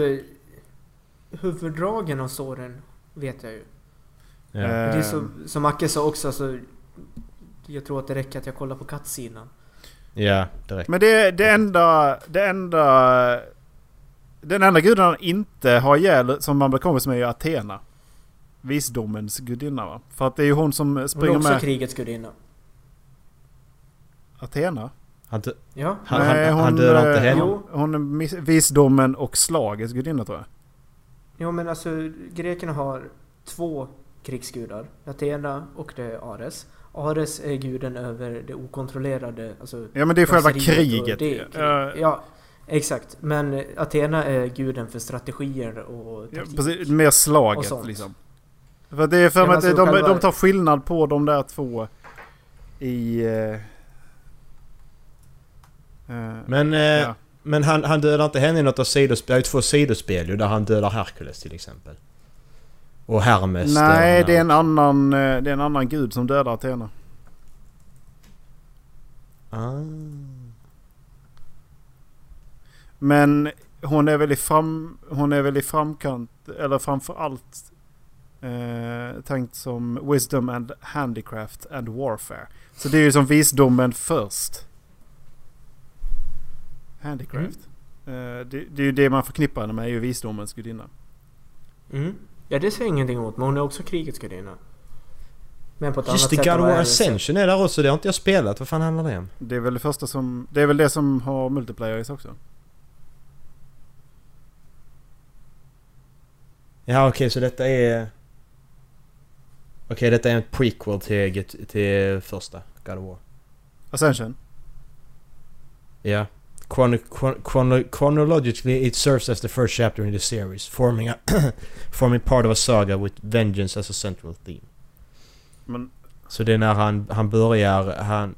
S7: Huvuddragen av såren vet jag ju.
S6: Eh,
S8: Ja.
S7: Det är så,
S8: Ehm.
S7: som Macke sa också, alltså, jag tror att det räcker att jag kollar på kattsidan.
S8: ja, direkt.
S6: Men det, det enda... Det enda... Den enda guden han inte har ihjäl som man blir kompis med är ju Athena. Visdomens gudinna va? För att det är ju hon som
S7: Hon är
S6: springer
S7: också
S6: med...
S7: krigets gudinna.
S6: Athena?
S8: Han, dö-
S7: Ja.
S8: han, han, han dödar inte
S6: eh,
S8: henne.
S7: Jo.
S6: Hon är mis- visdomen och slagets gudinna tror jag.
S7: Jo men alltså grekerna har två krigsgudar. Athena och det är Ares. Ares är guden över det okontrollerade, alltså...
S6: Ja men det är själva
S7: raseriet och
S6: kriget.
S7: Det är
S6: Eh,
S7: krig. Ja, exakt. Men Athena är guden för strategier och
S6: Ja,
S7: taktik.
S6: precis, mer
S7: Och
S6: slaget
S7: sånt.
S6: liksom. För det är för
S7: Ja,
S6: mig
S7: men
S6: att
S7: alltså
S6: de,
S7: själva-
S6: de tar skillnad på de där två i... eh, eh,
S8: Men, eh,
S6: Ja.
S8: men han, han dödar inte henne i något av sidospel. Det är ju två sidospel ju, där han dödar Herkules till exempel. Och Hermes
S6: Nej,
S8: dödar
S6: det är, en
S8: han.
S6: annan, eh, det är en annan gud som dödar Athena.
S8: Ah.
S6: Men hon är väl i, fram, hon är väl i framkant, eller framför allt eh, tänkt som Wisdom and Handicraft and Warfare. Så det är ju som visdomen först. Handicraft. Eh, det, det är ju det man förknippar henne med, är ju visdomens gudinna.
S7: Mm. Ja det säger jag ingenting emot, men hon är också krigets gudinna. Men på ett
S8: Ah. Just
S7: annat
S8: det,
S7: sätt.
S8: God
S7: än
S8: of
S7: vad
S8: War
S7: Ares är.
S8: Ascension är där också. Det har inte jag spelat. Vad fan handlar det om?
S6: Det är väl det första som, det är väl det som har multiplayer i sig också.
S8: Ja okej, så detta är... Okej, detta är en prequel till, till första God of War.
S6: Ascension.
S8: Yeah. Chrono- chron- chrono- chronologically, it serves as the first chapter in the series, forming a forming part of a saga with vengeance as a central theme.
S6: Men
S8: Så det är när han, han börjar, han...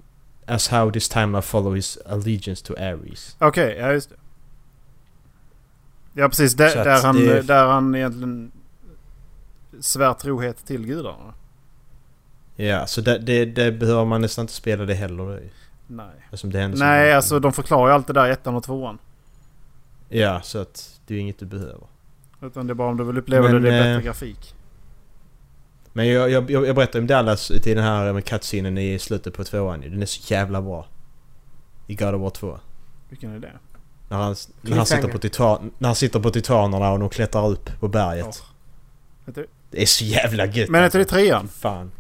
S8: As how this time I follow his allegiance to Ares.
S6: Okej, ja just det. Ja precis, där,
S8: Så att
S6: där, han,
S8: det-
S6: där han egentligen svär trohet till gudarna.
S8: Ja, så det, det, det behöver man nästan inte spela det heller. det är ju-
S6: Nej.
S8: Eftersom det händer så
S6: Nej,
S8: mycket.
S6: alltså de förklarar ju allt det där i ettan och tvåan.
S8: Ja, så att det är ju inget du behöver.
S6: Utan det är bara om du vill uppleva
S8: Men,
S6: det, det är
S8: eh,
S6: bättre grafik.
S8: Men jag, jag, jag jag berättade om Dallas till den här eh, med cutscenen i slutet på tvåan ju. Den är så jävla bra. I God of War 2.
S6: Vilken är det?
S8: När han, när han, sitter, på
S7: Cliffhanger.
S8: titan, när han sitter på titanerna och de klättrar upp på berget.
S6: Ja. Vet du-
S8: Det är så jävla gött alltså.
S6: Men är inte det trean?
S8: Fan.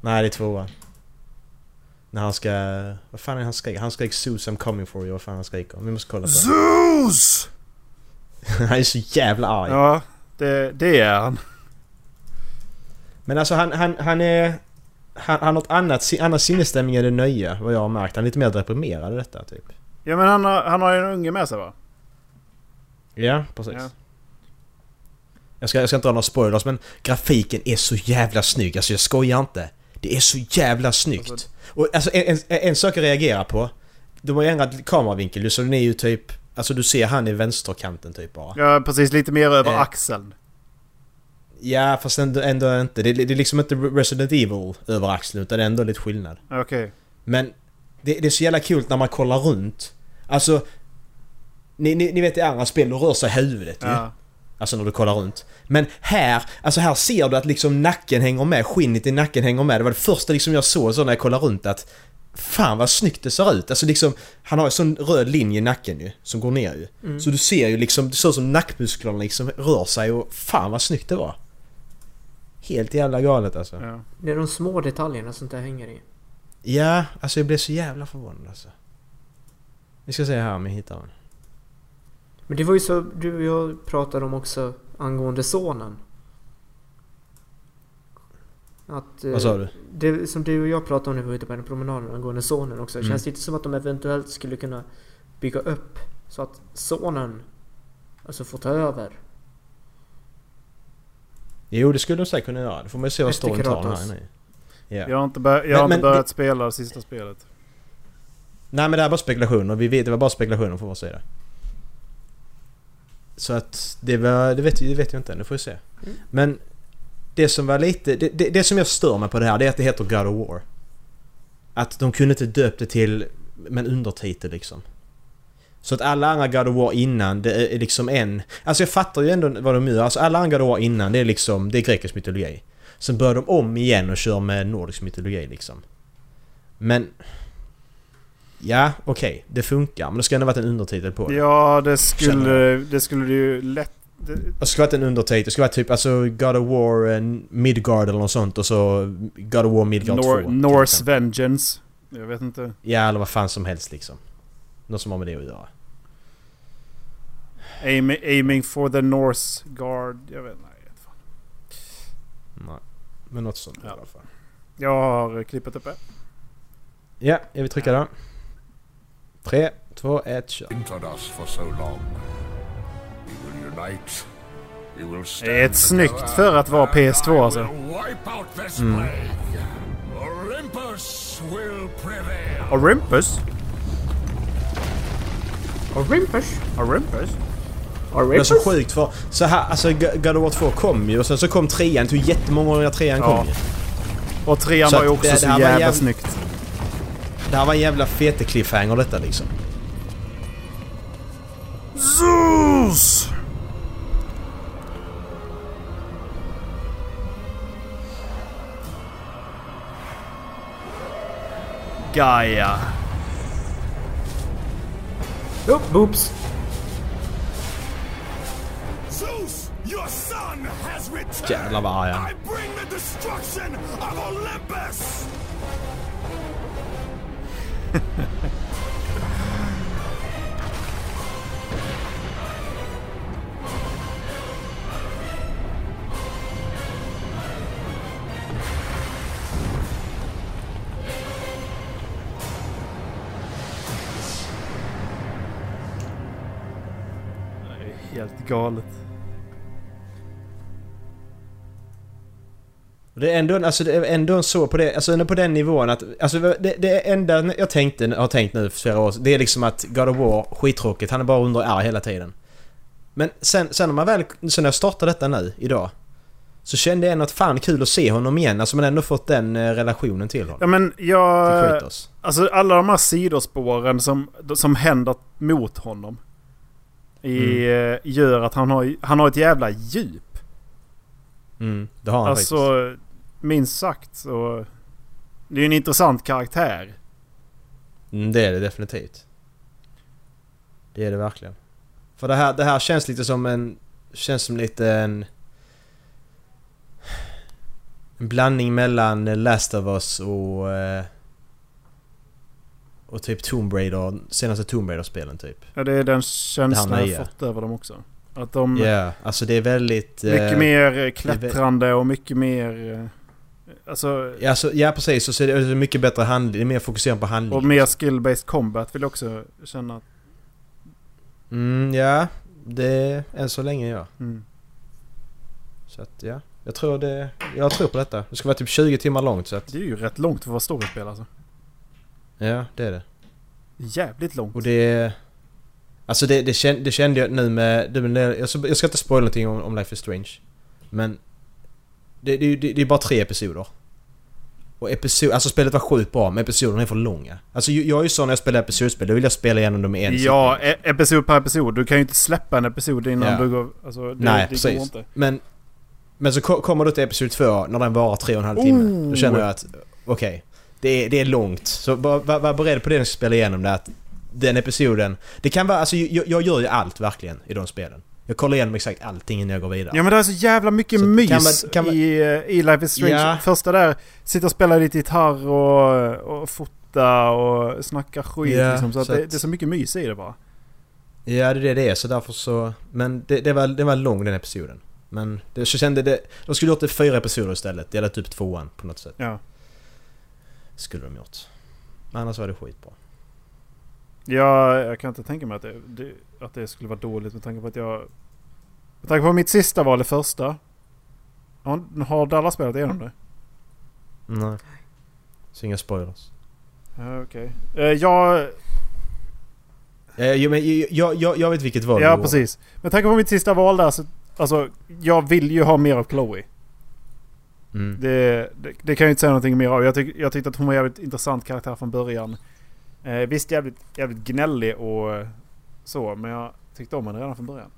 S8: Nej, det är tvåan. När han ska... Vad fan är han skrek? Han skrek Zeus I'm coming for you. Vad fan han skriker. Vi måste kolla på det.
S6: Zeus!
S8: Han är så jävla arg.
S6: Ja, det, det är han.
S8: Men alltså han, han, han är... Han, han har ett annat, sin- annan sinnesstämning än det nöja, vad jag har märkt. Han är lite mer deprimerad i detta typ.
S6: Ja men han har, han har ju en unge med sig va?
S8: Ja, precis.
S6: Ja.
S8: Jag, ska, jag ska inte ha några spoilers men grafiken är så jävla snygg. Alltså jag skojar inte. Det är så jävla snyggt.
S6: Alltså-
S8: Och alltså en, en, en sak jag reagerar på. de har ju ändrat kameravinkel så den är ju typ... Alltså du ser han i vänsterkanten typ bara.
S6: Ja, precis. Lite mer över
S8: Eh.
S6: axeln.
S8: Ja fast ändå, ändå inte. Det, det är liksom inte Resident Evil över axeln utan det är ändå lite skillnad.
S6: Okej.
S8: Men det, det är så jävla kul när man kollar runt. Alltså... Ni, ni, ni vet i andra spel, då rör sig huvudet ju.
S6: Ja.
S8: Alltså när du kollar runt. Men här, alltså här ser du att liksom nacken hänger med, skinnet i nacken hänger med. Det var det första liksom jag såg så när jag kollade runt att Fan vad snyggt det ser ut! Alltså liksom, han har ju sån röd linje i nacken ju, som går ner ju. Så du ser ju liksom, det ser ut som nackmusklerna liksom rör sig och fan vad snyggt det var! Helt jävla galet alltså.
S6: Ja.
S7: Det är de små detaljerna som det hänger i.
S8: Ja, alltså jag blev så jävla förvånad alltså. Vi ska se här om jag hittar honom.
S7: Men det var ju så du och jag pratade om också angående sonen. Att, eh,
S8: Vad sa du?
S7: Det som du och jag pratade om när vi var ute på den promenaden angående sonen också.
S8: Mm.
S7: Känns det inte som att de eventuellt skulle kunna bygga upp så att sonen alltså får ta över?
S8: Jo, det skulle de säkert kunna göra. Det får man ju se vad
S7: Efter
S8: storyn tar den
S7: Kratos.
S8: här nu. Ja.
S6: Jag har inte, bör- jag har
S8: Men-
S6: inte
S8: men
S6: börjat spela det sista spelet.
S8: Nej men det här var spekulationer, vi vet, det var bara spekulationer från vår sida. Så att det var, det vet, det vet jag inte än, det får vi se. Men det som var lite, det, det, det som jag stör mig på det här det är att det heter God of War. Att de kunde inte döpt det till men undertitel liksom. Så att alla andra God of War innan det är liksom en... Alltså jag fattar ju ändå vad de gör. Alltså alla andra God of War innan det är liksom, det är grekisk mytologi. Sen börjar de om igen och kör med nordisk mytologi liksom. Men... Ja, okej. det funkar. Men det ska ändå varit en undertitel på det.
S6: Ja, det skulle, det skulle ju lätt... Det,
S8: Det ska vara en undertitel. Det ska vara typ alltså God of War eh, Midgard eller något sånt och så God of War Midgard 2.
S6: Nor-
S8: till
S6: Norse
S8: exempel.
S6: Vengeance. Jag vet inte.
S8: Ja, eller vad fan som helst liksom. Något som har med det att göra.
S6: Aim, aiming for the Norse Guard. Jag vet nej, jag vet fan.
S8: Nej. Men något sånt i alla fall.
S6: Jag har klippat upp det.
S8: Ja, jag vill trycka då. Tre, två, ett, kör.
S10: on us for so long. We will unite. We will stand
S6: Det är ett snyggt för att vara PS2 alltså.
S10: Wipe out this plague. Olympus will prevail.
S6: Olympus?
S7: Olympus!
S6: Olympus?
S8: Det är
S7: Olympus!
S8: så sjukt för så här, alltså Go- God of War 2 kom ju och sen så kom trean. Det tog jättemånga år innan trean
S6: Ja.
S8: kom ju.
S6: Och trean
S8: Så
S6: var ju
S8: att
S6: också
S8: det-
S6: så
S8: det här var
S6: jävla
S8: jäv-
S6: snyggt.
S8: Det här var en jävla fete cliffhanger detta liksom.
S6: Zeus! Gaia.
S7: Jo, boobs!
S10: Zeus, your son has returned.
S8: Jävlar vad arg han
S10: I bring the destruction of Olympus.
S6: Helt galet.
S8: Det är ändå, en- alltså, det är ändå en så på det, alltså ändå på den nivån att, alltså det, det enda jag tänkte, har tänkt nu för flera år det är liksom att God of War, skittråkigt, han är bara under arg hela tiden. Men sen, sen när man väl, sen när jag startade detta nu, idag, så kände jag ändå att fan kul att se honom igen, alltså man har ändå fått den eh, relationen till
S6: Ja
S8: honom.
S6: men
S8: Till
S6: jag...
S8: Kratos.
S6: Alltså alla de här sidospåren som, som händer mot honom. I, eh, Gör att han har, han har ett jävla djup.
S8: Mm, det har han faktiskt.
S6: alltså minst sagt så... Det är ju en intressant karaktär.
S8: Mm, det är det definitivt. Det är det verkligen. För det här, det här känns lite som en... Känns som lite en... En blandning mellan Last of Us och... eh, Och typ Tomb Raider, senaste Tomb Raider-spelen typ.
S6: Ja, det är den
S8: Det
S6: känslan
S8: här
S6: jag
S8: nya.
S6: fått över dem också. Att de...
S8: Ja, alltså det är väldigt... eh,
S6: Mm. Mycket mer klättrande och mycket mer... eh, Alltså...
S8: ja, Alltså, ja precis, och så är det- det är mycket bättre handling, det är mer fokuserat på handling.
S6: Och mer skill-based combat vill jag också känna.
S8: Mm, ja. Det... Än så länge ja.
S6: Mm.
S8: Så att ja. Jag tror det... Jag tror på detta. Det ska vara typ 20 timmar långt så att...
S6: Det är ju rätt långt för att vara storiespel alltså.
S8: Ja, det är det.
S6: Jävligt långt.
S8: Och det... Alltså det, det, kände, det kände jag nu med... det- men det- Jag ska jag ska inte spoila någonting om, om Life is Strange. Men... Det, det, det, det är bara tre episoder. Och episod, alltså spelet var sjukt bra men episoderna är för långa. Alltså jag jag är ju sån när jag spelar episodspel, då vill jag spela igenom dem i en
S6: Ja, e- episod per episod. Du kan ju inte släppa en episod innan
S8: Ja.
S6: du går... Alltså, det,
S8: Nej,
S6: det
S8: precis.
S6: går inte.
S8: Men, men så ko- kommer du till episod 2 när den varar tre och en halv timme. Då känner jag att okej, det, är, det är långt. Så var, var, var beredd på det när du spelar igenom det att den episoden... Det kan vara... Alltså jag, jag gör ju allt verkligen i de spelen. Jag kollar igenom exakt allting innan jag går vidare.
S6: Ja men det är så jävla mycket
S8: Så
S6: mys
S8: kan man- kan man-
S6: I, eh, i Life is Strange.
S8: Ja.
S6: Första där, sitta och spela lite gitarr och, och fota och snacka skit
S8: Ja,
S6: liksom. Så, att
S8: så
S6: det,
S8: att-
S6: det är så mycket mys i det bara.
S8: Ja, det är det det är. Så därför så... Men det, det, var, det var lång den episoden. Men det, så kände det... De skulle gjort det i fyra episoder istället. Delat upp tvåan på något sätt.
S6: Ja.
S8: Skulle de gjort. Men annars var det skitbra.
S6: Jag, jag kan inte tänka mig att det, det, att det skulle vara dåligt med tanke på att jag... Med tanke på mitt sista val, det första. Har, har alla spelat igenom det?
S8: Nej. Så inga spoilers.
S6: Ja, Okej. Eh, Jag...
S8: Eh, jo, men jag, jag, jag, jag vet vilket val du
S6: Ja,
S8: gjorde.
S6: precis. Med tanke på mitt sista val där så... Alltså, jag vill ju ha mer av Chloe.
S8: Mm.
S6: Det, det, det kan jag inte säga någonting mer av. Jag, tyck, jag tyckte att hon var en jävligt intressant karaktär från början. Eh, visst jävligt, jävligt gnällig och eh, så, men jag tyckte om henne redan från början.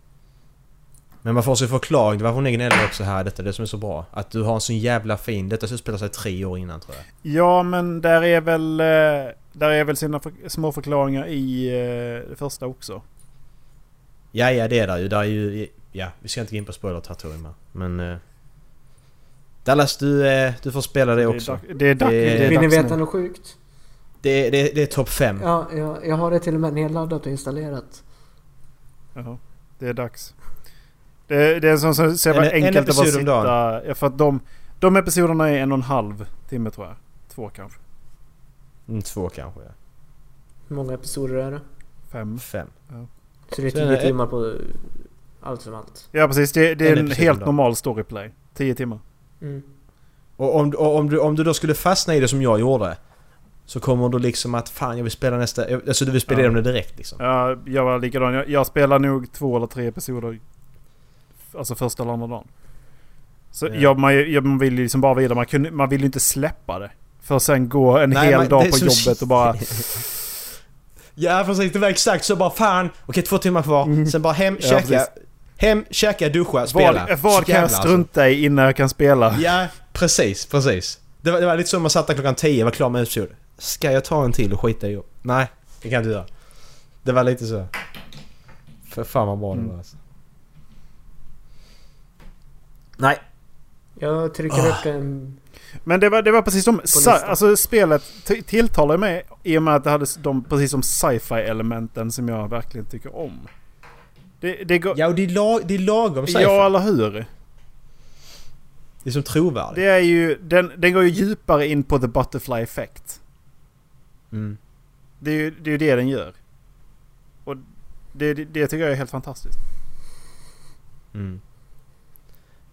S8: Men man får sig förklaring till varför hon är gnällig också här. Detta är det som är så bra. Att du har en sån jävla fin... Detta utspelar sig tre år innan tror jag.
S6: Ja, men där är väl, eh, där är väl sina för, små förklaringar i eh, det första också.
S8: Ja, ja det är där ju. Där är ju... Ja, vi ska inte gå in på spoilers här tror jag. Men... eh, Dallas, du, eh, du får spela det
S6: Det är,
S8: också.
S6: dags- det är, dags-
S8: Det-
S6: det är
S7: Vill ni
S6: dags
S7: veta
S6: nu.
S7: något sjukt?
S8: Mm. Det är, det är, det är topp fem.
S7: Ja, jag, jag har det till och med nedladdat och installerat.
S6: Ja, det är dags. Det, det är en sån som ser vad
S8: En- en
S6: enkelt att bara
S8: episod om
S6: sitta... Ja, för att de, de episoderna är en och en halv timme tror jag. Två kanske.
S8: Mm, Två kanske. ja.
S7: Hur många episoder är det?
S6: Fem.
S8: Fem.
S7: Så det är
S8: Så är det-
S7: tio timmar på eh, allt som allt.
S6: Ja precis, det, det är
S8: En
S6: en
S8: episod om
S6: helt
S8: dagen.
S6: normal storyplay. Tio timmar.
S7: Mm.
S8: Och om, och om, du, om du då skulle fastna i det som jag gjorde. Så kommer du liksom att fan jag vill spela nästa... Alltså du vill spela
S6: Ja.
S8: igenom det direkt liksom.
S6: Ja, jag var likadan. Jag, jag spelar nog två eller tre episoder. Alltså första eller andra dagen. Så
S8: Ja.
S6: jag, man, jag, man vill ju liksom bara vidare. Man, kunde, man vill ju inte släppa det. För sen gå en hel
S8: men
S6: dag
S8: det är
S6: på
S8: så-
S6: jobbet och bara...
S8: Ja precis, det var exakt så bara fan, okej två timmar kvar, sen bara hem,
S6: Mm. Ja,
S8: käka,
S6: precis.
S8: hem, käka, duscha, spela.
S6: Vad, vad
S8: Så
S6: kan jag
S8: jävla,
S6: strunta i innan jag kan spela?
S8: Alltså. Ja, precis, precis. Det var, det var lite som man satt där klockan 10 var klar med episod. Ska jag ta en till och skita i jobb? Nej, det kan jag inte göra. Det var lite så. För fan vad bra
S6: Mm.
S8: det var alltså. Nej.
S7: Jag trycker
S8: Ah.
S7: upp en...
S6: Men det var, det var precis som... Sa,
S7: listan.
S6: alltså spelet t- tilltalar mig i och med att det hade s- de precis som sci-fi elementen som jag verkligen tycker om. Det, det går...
S8: Ja och det är, lag, det är lagom sci-fi.
S6: Ja, eller hur?
S8: Det är som trovärdigt.
S6: Det är ju, den, den går ju djupare in på the butterfly effect.
S8: Mm.
S6: Det är ju det, är ju det den gör. Och det, det, det tycker jag är helt fantastiskt.
S8: Mm.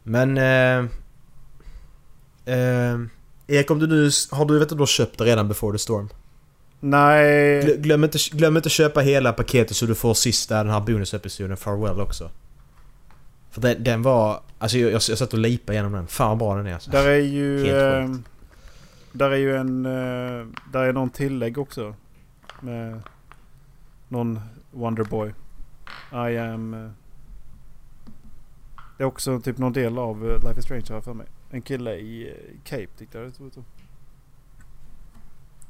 S8: Men... Eh, eh, Erik, om du nu... Har du, vet att du har köpt det redan before the storm?
S6: Nej,
S8: Glö- Glöm inte, glöm inte köpa hela paketet så du får sista den här bonusepisoden Farewell också. För den, den var... Alltså jag, jag, jag satt och lipade igenom den. Fan vad bra den är alltså.
S6: där är ju...
S8: Helt
S6: ehm, där är ju en... eh, där är någon tillägg också. Med någon Wonderboy. I am... eh, det är också typ någon del av eh, Life is Strange har jag för mig. En kille i eh, Cape tyckte jag det såg ut som.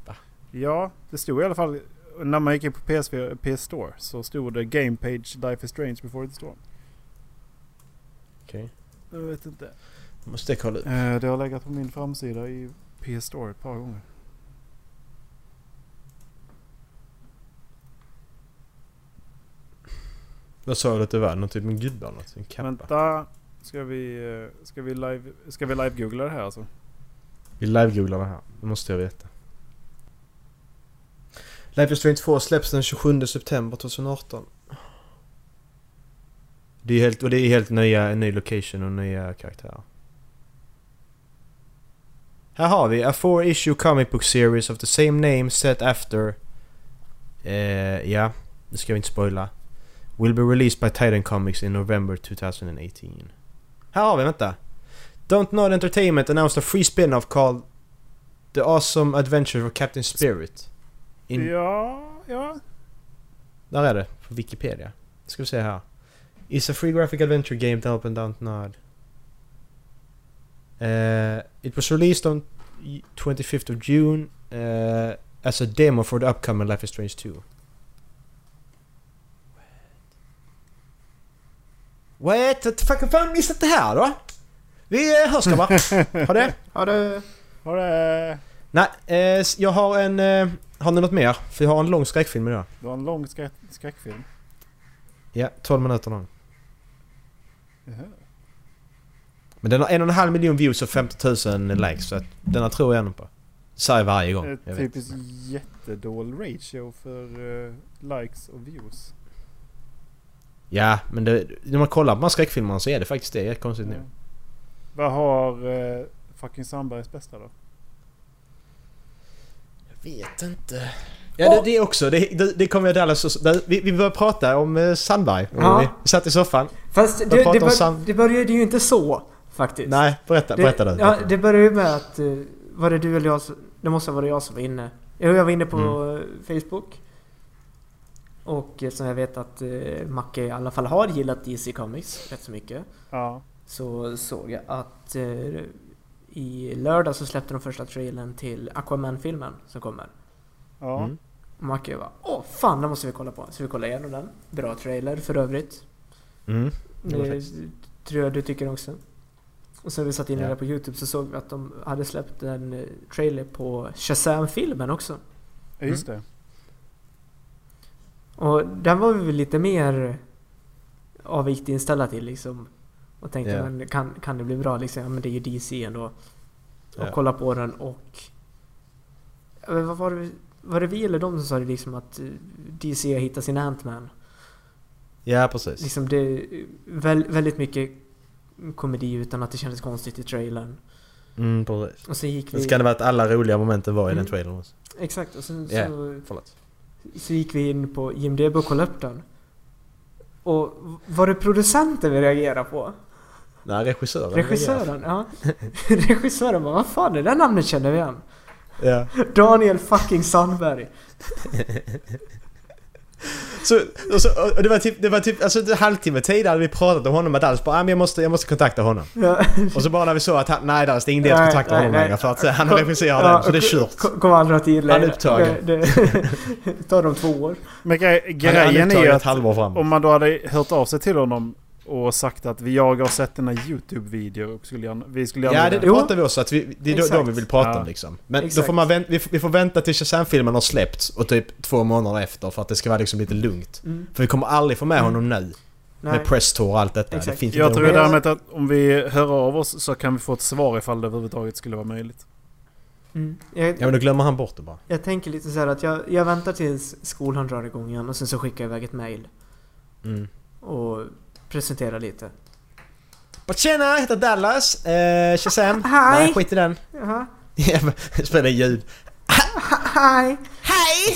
S8: Va?
S6: Ja, det stod i alla fall... När man gick in på PS4, PS Store så stod det Game Page Life is Strange before the storm.
S8: Okej.
S6: Jag vet inte.
S8: Måste kolla upp.
S6: Eh, Det har legat på min framsida i PS Store ett par gånger.
S8: Vad sa du att det var? Någon typ av gubbe eller något? En kappa?
S6: Vänta. Ska vi, eh, ska vi live, ska vi live googla det här alltså?
S8: Vi live-googlar det här. Det måste jag veta. Life is Strange 2 släpps den 27 september 2018. Det är helt, och det är helt nya, en ny location och nya karaktärer. Här har vi a four issue comic book series of the same name set after Eh, ja, det ska vi inte spoila. Will be released by Titan Comics in November 2018. Här har vi, vänta! Don't Nod Entertainment announced a free spin-off called The Awesome Adventures of Captain Spirit. In,
S6: Ja, ja.
S8: Där är det, på Wikipedia. Ska vi se här. It's a free graphic adventure game developed by Don't Nod. Eh, it was released on 25th of June eh, as a demo for the upcoming Life is Strange 2. What? What? Fuck, fan missat det här då? Vi eh, hörs grabbar! Ha det!
S7: Ja, det...
S6: Har det...
S8: Nej, eh, s- jag har en... Eh, har ni något mer? För jag har en lång skräckfilm idag.
S6: Det var en lång skräck, skräckfilm.
S8: Ja, 12 minuter lång.
S6: Jaha.
S8: Men den har en och en halv miljon views och 50 000
S7: Mm.
S8: likes så att denna tror jag ändå på. Det Säger jag varje
S7: Eh,
S8: gång. Jag
S6: Ett
S7: typ.
S8: vet.
S6: typiskt jättedålig ratio för eh, likes och views.
S8: Ja, men det, när man kollar på de här skräckfilmerna så är det faktiskt det, konstigt
S6: Ja.
S8: nog.
S6: Vad har eh, fucking Sandbergs bästa då?
S8: Jag vet inte. Ja, det, det är också. Det, det, det kommer jag Dallas och, där, Vi, vi började prata om eh, Sandberg.
S7: Ja.
S8: Vi, satt i soffan.
S7: Fast det, det,
S8: pratar om
S7: bör,
S8: sam-
S7: det började ju inte så faktiskt.
S8: Nej, berätta, berätta
S7: det,
S8: du.
S7: ja, det började ju med att... eh, Var det du eller jag som- Det måste ha varit jag som var inne. Jo, jag var inne på
S8: Mm.
S7: eh, Facebook. Och eh, som jag vet att eh, Macke i alla fall har gillat DC Comics rätt så mycket.
S6: Ja.
S7: Så såg jag att eh, i lördag så släppte de första trailern till Aquaman-filmen som kommer.
S6: Ja.
S8: Mm.
S7: Och Macke bara Åh fan, den måste vi kolla på. Så vi kollade igenom den. Bra trailer för övrigt.
S8: Mm. Det var
S7: Det Eh, tror jag du tycker också. Och sen vi satt inne
S8: Ja.
S7: där på Youtube så såg vi att de hade släppt en eh, trailer på Shazam-filmen också.
S6: Ja, just
S8: Mm.
S6: det.
S7: Och den var vi väl lite mer avvikt inställda till liksom. Och tänkte
S8: Ja.
S7: men kan, kan det bli bra liksom? Ja men det är ju DC ändå. Och
S8: Ja.
S7: kolla på den och... Ja, men Vad var det, var det vi eller de som sa det liksom att eh, DC hittar sin Ant-Man?
S8: Ja, precis.
S7: Liksom det... är Väl, väldigt mycket komedi utan att det kändes konstigt i trailern.
S8: Mm, precis.
S7: Och sen gick
S8: Det
S7: vi...
S8: ska det vara att alla roliga momenten var i
S7: Mm.
S8: den trailern också.
S7: Exakt, och sen
S8: Ja.
S7: så,
S8: Förlåt.
S7: så gick vi in på IMDB och kollade upp den. Och var det producenten vi reagerade på?
S8: Nej, regissören.
S7: Regissören? Ja. Regissören bara, vad fan det där namnet känner vi igen.
S8: Ja.
S7: Daniel fucking Sandberg.
S8: Så, och så, och det var typ, det var typ alltså, en halvtimme tidigare hade vi pratat om honom med Dallas bara ah, men jag, måste, jag måste kontakta honom.
S7: Ja.
S8: Och så bara när vi såg att han, nej Dallas det är ingen idé att
S7: Mm. Nej,
S8: kontakta
S7: nej,
S8: honom
S7: nej.
S8: längre för att eh, han regisserar
S7: Ja,
S8: den så det är
S7: och-
S8: kört.
S7: Ko- Kommer aldrig ha tid längre.
S8: Han är upptagen.
S7: Det, det tar dem två år.
S6: Men gre-
S8: Han är
S6: grejen är
S8: antagligen
S6: ju
S8: ett
S6: att
S8: halvår fram.
S6: om man då hade hört av sig till honom och sagt att vi jag har sett den här YouTube-videon och skulle gärna, vi skulle gärna
S8: Ja det, det
S7: Jo.
S8: pratar vi också att vi, det är då-
S7: Exakt.
S8: de vi vill prata
S6: Ja.
S8: om liksom. Men då
S7: Exakt.
S8: får man vänt, vi, får- vi får vänta tills Shazam-filmen har släppts och typ två månader efter för att det ska vara liksom lite lugnt.
S7: Mm.
S8: För vi kommer aldrig få med honom nu.
S7: Nej.
S8: Med presstour och allt detta. Det
S7: Exakt.
S8: finns
S6: Jag
S8: inte
S6: tror
S8: någon-
S7: Men jag-
S6: därmed att om vi hör av oss så kan vi få ett svar ifall det överhuvudtaget skulle vara möjligt.
S7: Mm. Jag,
S8: Ja men då glömmer han bort det bara.
S7: jag tänker lite så här att jag, jag väntar tills skolan drar igång igen och sen så skickar jag iväg ett mail.
S8: Mm.
S7: Och presenterar lite.
S8: Bara, Tjena, jag heter Dallas. Eh, Shazam.
S7: Hi.
S8: Nej, skit i den.
S7: Jaha.
S8: Spela ljud.
S7: Hej!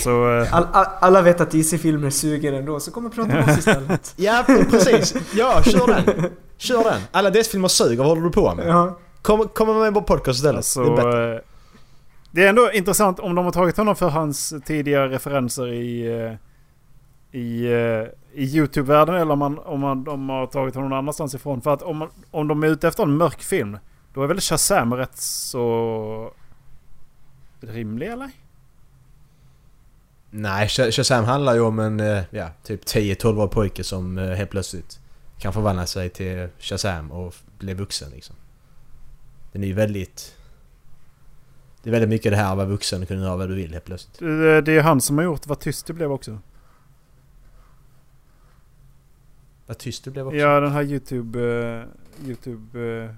S6: Så eh,
S7: All, all, alla vet att DC-filmer suger ändå, så kom och prata med oss istället.
S8: Ja, precis. Ja, kör den. Kör den. Alla dess filmer suger. Vad håller du på med?
S7: Ja.
S8: Kom, kom med på podcast istället.
S6: alltså,
S8: det är bättre.
S6: eh, det är ändå intressant om de har tagit honom för hans tidigare referenser i, eh, i, eh, i YouTube-världen eller om, man, om man, de har tagit honom någon annanstans ifrån. För att om, man- om de är ute efter en mörk film, då är väl Shazam rätt så rimlig eller?
S8: Nej, Sh- Shazam handlar ju om en eh, ja, typ 10-12 år pojke som eh, helt plötsligt kan förvandla sig till Shazam och f- bli vuxen liksom. Den är ju väldigt... Det är väldigt mycket det här att vara vuxen och kunna göra vad du vill helt plötsligt.
S6: Det det är han som har gjort Vad tyst det blev också.
S8: Vad tyst du blev också.
S6: Ja, den här YouTube... eh, YouTube... eh,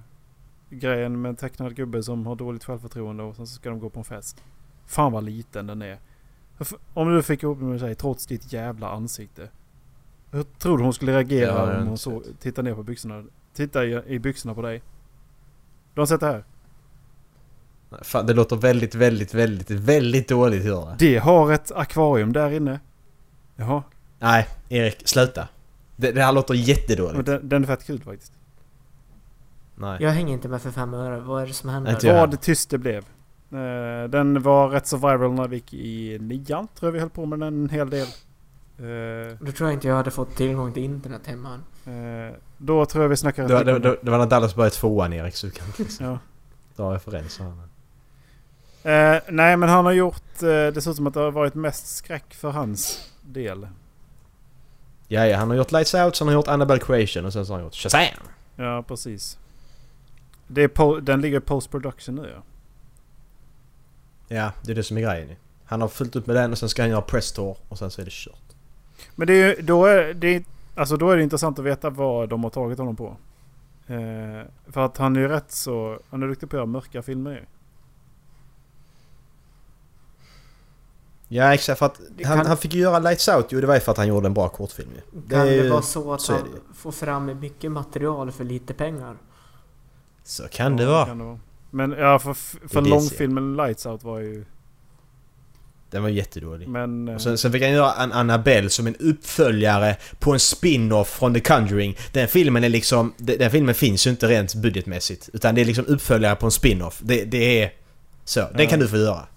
S6: grejen med en tecknad gubbe som har dåligt självförtroende och sen så ska de gå på en fest. Fan vad liten den är. F- Om du fick ihop det med sig trots ditt jävla ansikte. Hur tror du hon skulle reagera
S8: Ja, det har jag
S6: om hon
S8: inte
S6: så tittar ner på byxorna? Titta i, i byxorna på dig. Du har sett det här?
S8: Fan, det låter väldigt, väldigt, väldigt, väldigt dåligt att göra.
S6: Det har ett akvarium där inne. Jaha,
S8: Nej, Erik, sluta. Det, det här låter jättedåligt.
S6: men den, den är fett kul faktiskt.
S8: Nej.
S7: Jag hänger inte med för fem öre. Vad är det som händer?
S8: Nej, tyvärr.
S6: Vad tyst det blev. Eh, Den var rätt så viral när vi gick i nian tror jag vi höll på med den en hel del. Eh,
S7: Då tror jag inte jag hade fått tillgång till internet hemma. än.
S6: eh, Då tror jag vi snackar...
S8: Det var, det, det, det var när Dallas började tvåan Erik, så du kan inte liksom
S6: Ja.
S8: dra referenser. här.
S6: Eh, nej, men han har gjort... Eh, det ser ut som att det har varit mest skräck för hans del.
S8: Ja, ja, han har gjort Lights Out, sen har han gjort Annabelle Creation och sen så har han gjort Shazam!
S6: Ja, precis. Det är po- den ligger i post production nu ja.
S8: Ja, det är det som är grejen ju. Han har fullt upp med den och sen ska han göra press tour och sen så är det kört.
S6: Men det är, ju- då, är, det, är- alltså, då är det intressant att veta vad de har tagit honom på. Eh, för att han är ju rätt så... Han är duktig på att göra mörka filmer ju.
S8: Ja, exakt. För att han,
S7: kan-
S8: han fick ju göra Lights Out ju, det var ju för att han gjorde en bra kortfilm ju.
S7: Kan
S8: är
S7: det,
S8: ju-
S7: vara så att
S8: så är det ju.
S7: han får fram mycket material för lite pengar?
S8: Så kan det
S6: Ja,
S8: vara.
S6: kan det vara. Men ja, för, för
S8: Det är
S6: långfilmen Lights Out var ju...
S8: Den var jättedålig.
S6: Men... eh,
S8: Och sen, sen fick han göra en Annabelle som en uppföljare på en spin-off från The Conjuring. Den filmen är liksom... de- Den filmen finns ju inte rent budgetmässigt. Utan det är liksom uppföljare på en spin-off. Det, det är... Så, den kan du få göra.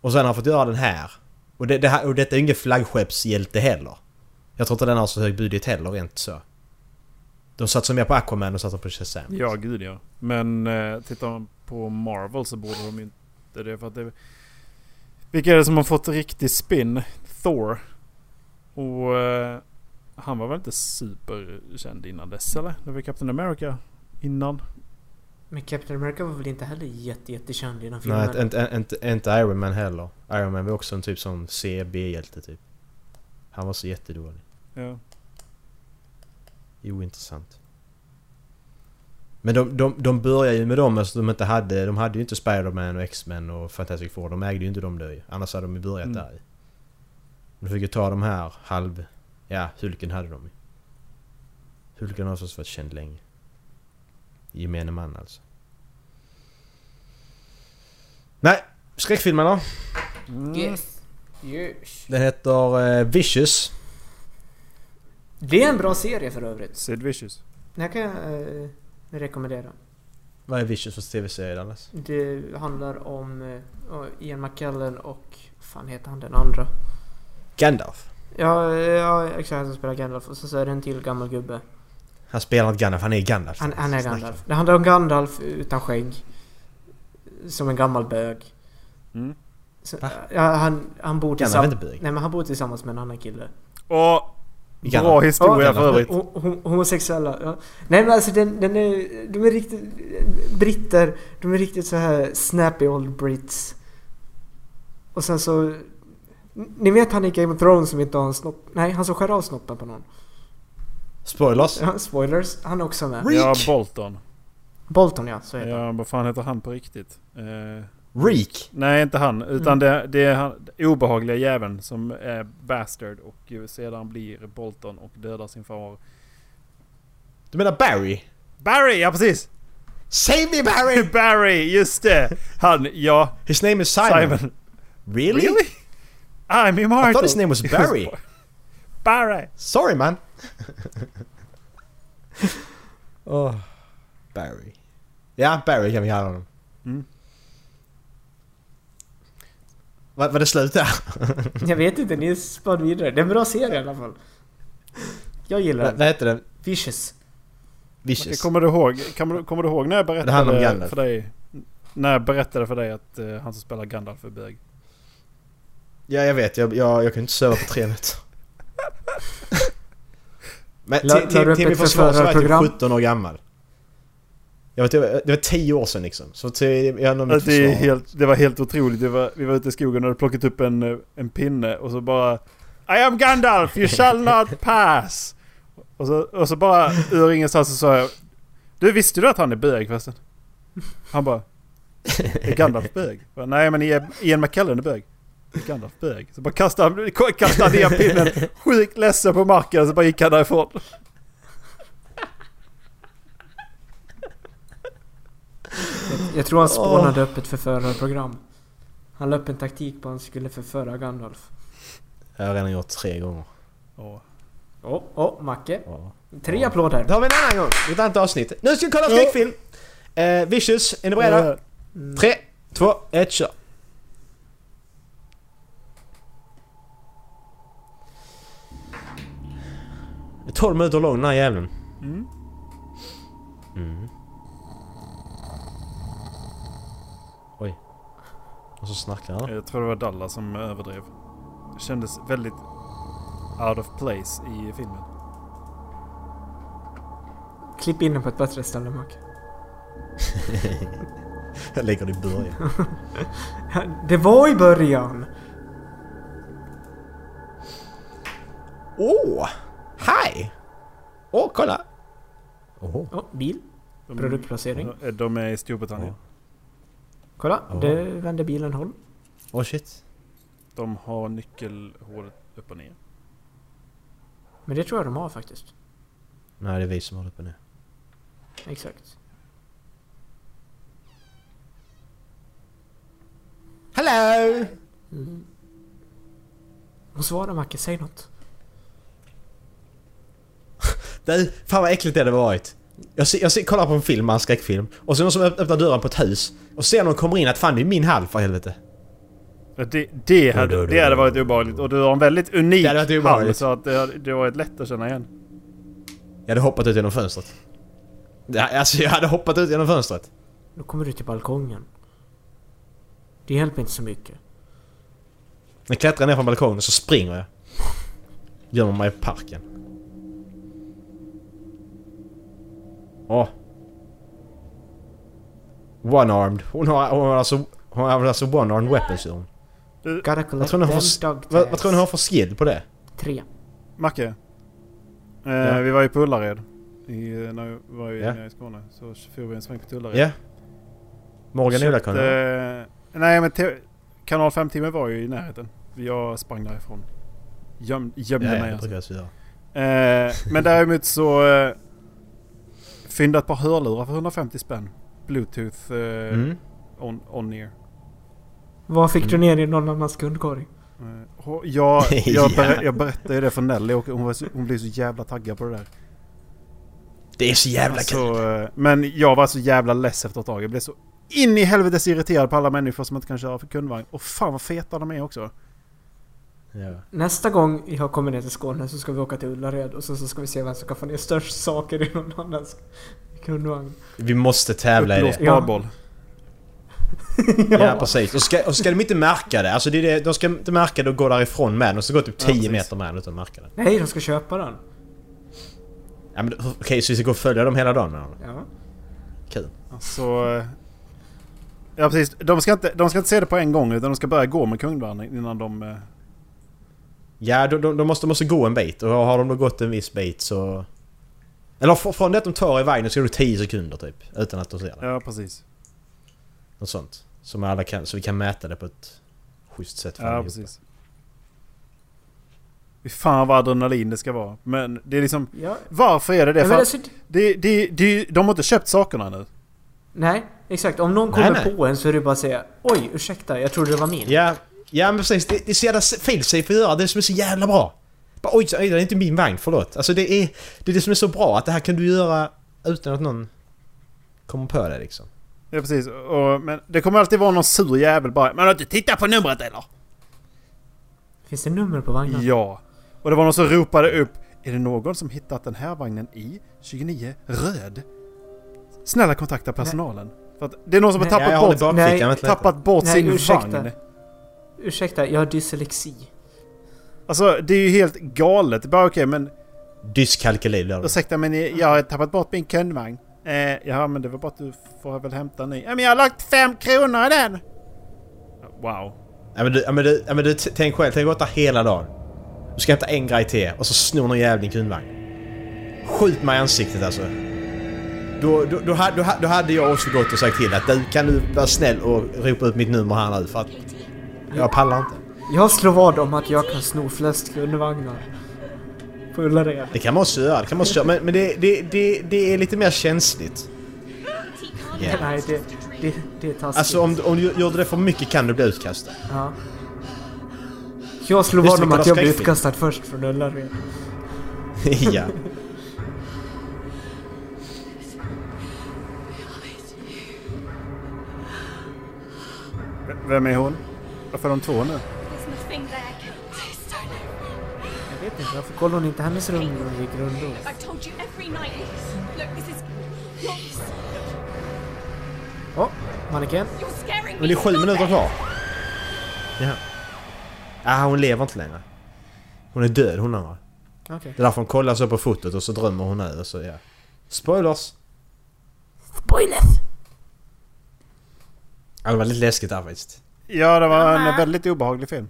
S8: Och sen har han fått göra den här. Och, det, det här, och detta är ju ingen flaggskeppshjälte heller. Jag tror inte den har så hög budget heller rent så. De satsar mer på Aquaman och satsar på Shazam.
S6: Ja, gud ja. Men eh, tittar man på Marvel så borde de ju inte det. För att det vilka är det som har fått riktig spin? Thor. Och eh, han var väl inte superkänd innan dess eller? Det var Captain America innan.
S7: Men Captain America var väl inte heller jätte, jättekänd innan filmen?
S8: Nej, inte, inte, inte Iron Man heller. Iron Man var också en typ som CB-hjälte typ. Han var så jättedålig.
S6: Ja.
S8: Ointressant. Men de, de, de började ju med dem alltså de inte hade... De hade ju inte Spider-Man och X-Men och Fantastic Four. De ägde ju inte de där ju. Annars hade de ju börjat
S6: Mm.
S8: där ju. De fick ju ta de här halv... Ja, Hulken hade de ju. Hulken har också varit känd länge. Gemene man alltså. Nej! Skräckfilmen då?
S7: Yes. Yes.
S8: Den heter eh, Vicious.
S7: Det är en bra serie för övrigt.
S6: Sid Vicious.
S7: Den här kan jag eh, rekommendera.
S8: Vad är Vicious för tv-serie Dallas?
S7: Det handlar om eh, Ian McKellen och... Vad fan heter han den andra?
S8: Gandalf.
S7: Ja, ja exakt han som spelar Gandalf och så, så är det en till gammal gubbe.
S8: Han spelar inte Gandalf, han är Gandalf.
S7: Han, han är
S8: Snacka.
S7: Gandalf. Det handlar om Gandalf utan skägg. Som en gammal bög.
S6: Mm.
S7: Så,
S8: Va?
S7: ja, han, han bor
S8: Gandalf är
S7: tillsammans...
S8: inte bög.
S7: Nej men han bor tillsammans med en annan kille.
S6: Och bra
S8: Gandalf.
S6: historia
S8: Ja,
S6: för övrigt.
S7: Ho- ho- homosexuella. Ja. Nej men alltså den, den är, de är riktigt... Britter, de är riktigt så här snappy old brits. Och sen så... Ni vet han i Game of Thrones som inte har en snopp? Nej, han som skär av snoppen på någon.
S8: Spoilers.
S7: Ja, spoilers, han är också med.
S6: Ja,
S8: Reek!
S6: Bolton.
S7: Bolton ja, så heter han.
S6: Ja, vad fan heter han på riktigt? Eh,
S8: Reek!
S6: nej, inte han. Utan
S7: Mm.
S6: det, det är han, det obehagliga jäveln som är bastard och ju sedan blir Bolton och dödar sin far.
S8: Du menar Barry?
S6: Barry, ja precis!
S8: Save me Barry!
S6: Barry, just det! Han, ja,
S8: His name is Simon.
S6: Simon.
S8: Really?
S6: I'm immortal!
S8: I thought his name was Barry.
S6: Barry!
S8: Sorry man! oh, Barry. Ja, Barry kan vi kalla honom.
S6: Mm.
S8: Var, var det slut där?
S7: Jag vet inte, ni spad vidare. Det är en bra serie i alla fall. Jag gillar
S8: Vad
S7: den.
S8: vad heter den?
S7: Vicious.
S8: Vicious.
S6: Okej, kommer, du ihåg, kan, du- kommer du ihåg när jag
S8: handlar om
S6: berättade
S8: Gandalf.
S6: för dig? När jag berättade för dig att eh, han som spelar Gandalf är bög.
S8: Ja, jag vet. Jag, jag, jag kunde inte sova på tre nätter. Men
S7: La- la
S8: till,
S7: du
S8: till,
S7: upp
S8: till min
S7: ett
S8: försvar så var jag
S7: förförarprogram?
S8: typ 17 år gammal. Jag vet, det var- det var 10 år sedan liksom. Så till, jag har
S6: Att
S8: mitt
S6: Alltså, det, är
S8: försvar.
S6: helt, det var helt otroligt. Det var, vi var ute i skogen och hade plockat upp en, eh, en pinne och så bara I am Gandalf, you shall not pass! Och så, och så bara ur ingenstans så sa jag Du visste du att han är bög förresten? Han bara Är Gandalf bög? Jag Bara, Nej men Ian- Ian McKellen är bög. Är Gandalf bög? Så bara kastade han, kastade han ner pinnen sjukt ledsen på marken och så bara gick han därifrån.
S7: Jag tror han spånade upp ett förförarprogram. Han la upp en taktik på att han skulle förföra Gandalf.
S8: Jag har redan gjort tre gånger.
S6: Åh.
S7: Åh, åh, Macke.
S8: Ja.
S7: Tre applåder.
S8: Det har vi en annan gång. I ett annat avsnitt. Nu ska vi kolla skräckfilm! Eh, Vicious, är ni beredda? Mm. Tre, två, ett, kör! Det är 12 minuter lång den här jäveln. Mm. Oj. Och så snackar han.
S6: Jag tror det var Dallas som överdrev. Det kändes väldigt out of place i filmen.
S7: Klipp in den på ett bättre ställe, Macke.
S8: Jag lägger det i början.
S7: Det var i början.
S8: Åh! Hej! Åh, kolla! Åh.
S7: Åh, bil.
S8: Mm.
S6: De,
S7: Produktplacering.
S6: de- de är i Storbritannien.
S7: Kolla,
S8: Ja.
S7: det vände bilen håll.
S8: Åh shit.
S6: De har nyckelhålet upp och ner.
S7: Men det tror jag de har faktiskt.
S8: Nej, det är vi som håller på nu.
S7: Exakt.
S8: Hello!
S7: Hon svarar Macke, säg något.
S8: Du, fan vad äckligt det hade varit. Jag, ser, jag ser, kollar på en film, en skräckfilm. Och så är det någon som öpp- öppnar dörren på ett hus. Och ser någon kommer in att fan det är min hall för helvete.
S6: Ja, Det, det, hade, det hade varit obehagligt. Och du har en väldigt unik
S8: Det hade varit obehagligt.
S6: hand så att det, hade- det var ett lätt att känna igen.
S8: Jag hade hoppat ut genom fönstret. Ja, alltså jag hade hoppat ut genom fönstret.
S7: Då kommer du till balkongen. Det hjälper inte så mycket.
S8: Jag klättrar ner från balkongen och så springer jag. Gömmer mig i parken. Åh. One-armed. Hon har, hon har alltså... Hon har alltså one-armed weapons i hon.
S7: Gotta
S8: Vad
S7: collect
S8: tror ni
S7: them
S8: hon har
S7: dog
S8: för, vad, vad tror ni hon har
S7: tags.
S8: för skill på det?
S7: Tre.
S6: Macke. Eh,
S8: Ja.
S6: Vi var ju på Ullared. I, eh, när vi var ju
S8: Ja.
S6: nere i Skåne. Så for vi en sväng på Ullared.
S8: Ja. Morgan
S6: Så
S8: Ola
S6: att,
S8: kunde.
S6: eh, Nej men te- kanal 5-timmen var ju i närheten. Jag sprang därifrån. Göm, gömde mig
S8: Ja,
S6: alltså.
S8: brukar jag göra.
S6: Eh, men däremot så... Eh, fynda ett par hörlurar för 150 spänn. Bluetooth eh,
S8: Mm.
S6: on, on ear.
S7: Vad fick du ner i någon annans kundkorg?
S6: Eh, och Jag, jag,
S8: Ja.
S6: ber- jag berättade ju det för Nelly och hon, var så, hon blev så jävla taggad på det där.
S8: Det är så jävla kul!
S6: Alltså, eh, men jag var så jävla less efter ett tag. Jag blev så in i helvetes irriterad på alla människor som inte kan köra för kundvagn. Och fan vad feta de är också.
S8: Ja.
S7: Nästa gång jag kommer ner till Skåne så ska vi åka till Ullared och sen så ska vi se vem som kan få ner störst saker i någon annans kundvagn.
S8: Vi måste tävla i det.
S6: Uppblåsbar boll.
S8: Ja, precis. Och ska, och ska de inte märka det, alltså det är det, de ska inte märka det och gå därifrån med den. De ska gå typ 10
S6: precis.
S8: meter med den utan att märka den.
S7: Nej, de ska köpa den.
S8: Ja, men hur- Okej, så vi ska gå och följa dem hela dagen med den?
S7: Ja.
S8: Kul.
S6: Alltså... eh, Ja precis. De ska, inte, de ska inte se det på en gång utan de ska börja gå med kundvagn innan de... eh,
S8: Ja, de, de, de, måste, de måste gå en bit och har de då gått en viss bit så... Eller fr- från det att de tar i vägen så är det 10 sekunder typ. Utan att de ser det.
S6: Ja precis.
S8: Något sånt. Som alla kan, så vi kan mäta det på ett schysst
S7: Typ
S8: sätt. för
S6: Ja
S8: allihopa.
S6: precis. Fy fan vad adrenalin det ska vara. Men det är liksom...
S7: ja.
S6: Varför är det det?
S7: Men
S6: För
S7: alltså,
S6: att det, det, det, de har inte köpt sakerna nu.
S7: nej, exakt. Om någon
S8: Nej,
S7: kommer
S8: nej.
S7: på en så är det bara att säga Oj, ursäkta, jag trodde det var min.
S8: Ja, ja men precis. Det, det är så jävla fail safe att göra. Det är som är så jävla bra. Bara, oj, oj, det är inte min vagn, förlåt. Alltså det är, det är det som är så bra, att det här kan du göra utan att någon kommer på det liksom.
S6: Ja precis. Och, men det kommer alltid vara någon sur jävel bara Man har inte tittat på numret eller?
S7: Finns det nummer på vagnen?
S6: Ja. Och det var någon som ropade upp Är det någon som hittat den här vagnen i 29 röd? Snälla kontakta personalen. För att det är någon som har
S7: Nej,
S8: Ja, jag
S6: tappat
S8: har det i
S6: bort, tappat
S7: Nej,
S8: bakfickan, vänta lite.
S6: bort
S7: Nej,
S6: sin
S7: ursäkta.
S6: vagn.
S7: Ursäkta, jag har dyslexi.
S6: Alltså det är ju helt galet. Bara okej men
S8: Dyskalkyli blir det.
S6: ursäkta men jag har tappat bort min kundvagn. Eh, ja men det var bara att du får väl hämta en ny. Ja, men jag har lagt fem kronor i den! Wow.
S8: Ja men du, ja, men du, ja, men du t- tänk själv, tänk åt det hela dagen. Du ska hämta en grej till och så snor någon jävla din kundvagn. Skjut mig i ansiktet alltså. Då, då, då, ha- då, ha- då hade jag också gått och sagt till att du kan du vara snäll och ropa ut mitt nummer här nu för att jag pallar inte.
S7: Jag slår vad om att jag kan sno flest kundvagnar. På Ullared.
S8: Det kan man också göra, det kan man också göra. Men, men det, det, det, det är lite mer känsligt. Ja.
S7: Nej, det, det, det är taskigt.
S8: Alltså om, du- om du gör det för mycket kan du bli utkastad.
S7: Ja. Jag slår
S8: Just
S7: vad om
S8: det,
S7: att jag blir
S8: skräckfilm.
S7: utkastad först från Ullared.
S8: ja.
S6: V- Vem är hon? Varför är de två nu?
S7: Jag vet inte, varför kollar hon inte hennes rum när hon gick runt då? Åh, mannequin.
S8: Men det är sju minuter kvar. Ja. Ah, hon lever inte längre. Hon är död hon andra.
S7: Okej.
S8: Det är därför hon kollar så på fotot och så drömmer hon nu och så ja. Spoilers!
S3: Spoilers!
S8: Ja, det var lite läskigt där faktiskt.
S6: Ja, det var en väldigt obehaglig film.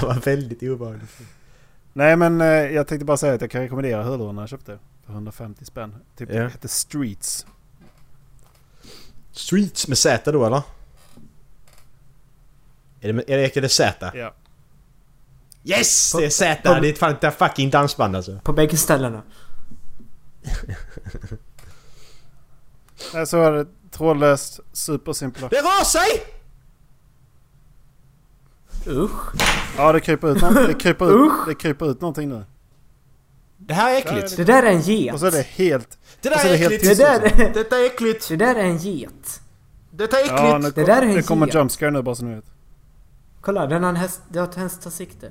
S8: Det var väldigt obehagligt.
S6: Nej, men eh, jag tänkte bara säga att jag kan rekommendera hörlurarna jag köpte. För 150 spänn. Typ
S8: Ja.
S6: det hette Streets.
S8: Streets med Z då eller? Är det, är det, är det Z?
S6: Ja.
S8: Yes! Det är Z! Det är ett fan- det är fucking dansband alltså.
S7: På bägge ställena.
S6: Nej, Så är det trådlöst, supersimpla.
S8: Det rör sig!
S7: Usch.
S6: Ja, det kryper ut, nå- det kryper ut, det kryper ut någonting nu.
S8: Det här är äckligt.
S7: Det där är en get.
S6: Och så är det helt...
S8: Det
S6: Och
S8: där
S6: så är
S8: är
S6: det helt
S8: äckligt.
S7: det, där,
S8: Detta är äckligt.
S7: det där är en get.
S8: Detta är
S6: liksom. Ja,
S8: äckligt.
S6: nu
S7: Det där är en
S6: kom, det kommer
S7: get.
S6: jumpscare nu bara så ni vet.
S7: Kolla, den har en häst, det har ett hästsikte.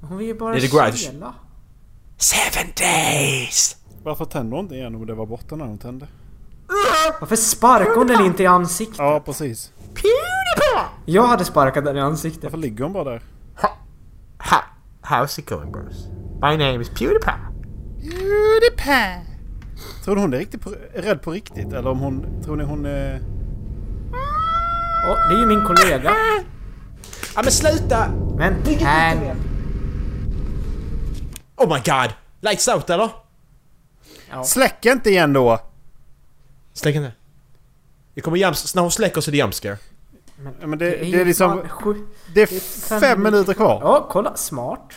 S7: Hon vill ju bara
S8: Det är The Grudge.
S7: chilla.
S8: Seven days!
S6: Varför tände hon inte igen om det var borta när hon tände?
S7: Varför sparkar hon den inte i ansiktet?
S6: Ja, precis.
S7: Jag hade sparkat den i ansiktet.
S6: Varför ligger hon bara där?
S8: Ha, how's it going bros? My name is Pewdiepie.
S6: Tror ni hon är riktigt på, är rädd på riktigt? Eller om hon... Tror ni hon eh, är...
S7: Åh, det är ju min kollega.
S8: Ja men sluta!
S7: Men här.
S8: Oh my god! Lights out eller?
S6: Släck inte igen då!
S8: Släck inte. Det kommer jumps... När hon släcker så är det jumpscare.
S6: Ja, Men det,
S7: ju
S6: det är liksom...
S7: fan sju-
S6: Det är
S7: fem
S6: fem
S7: minuter.
S6: minuter kvar.
S7: Ja, kolla. Smart.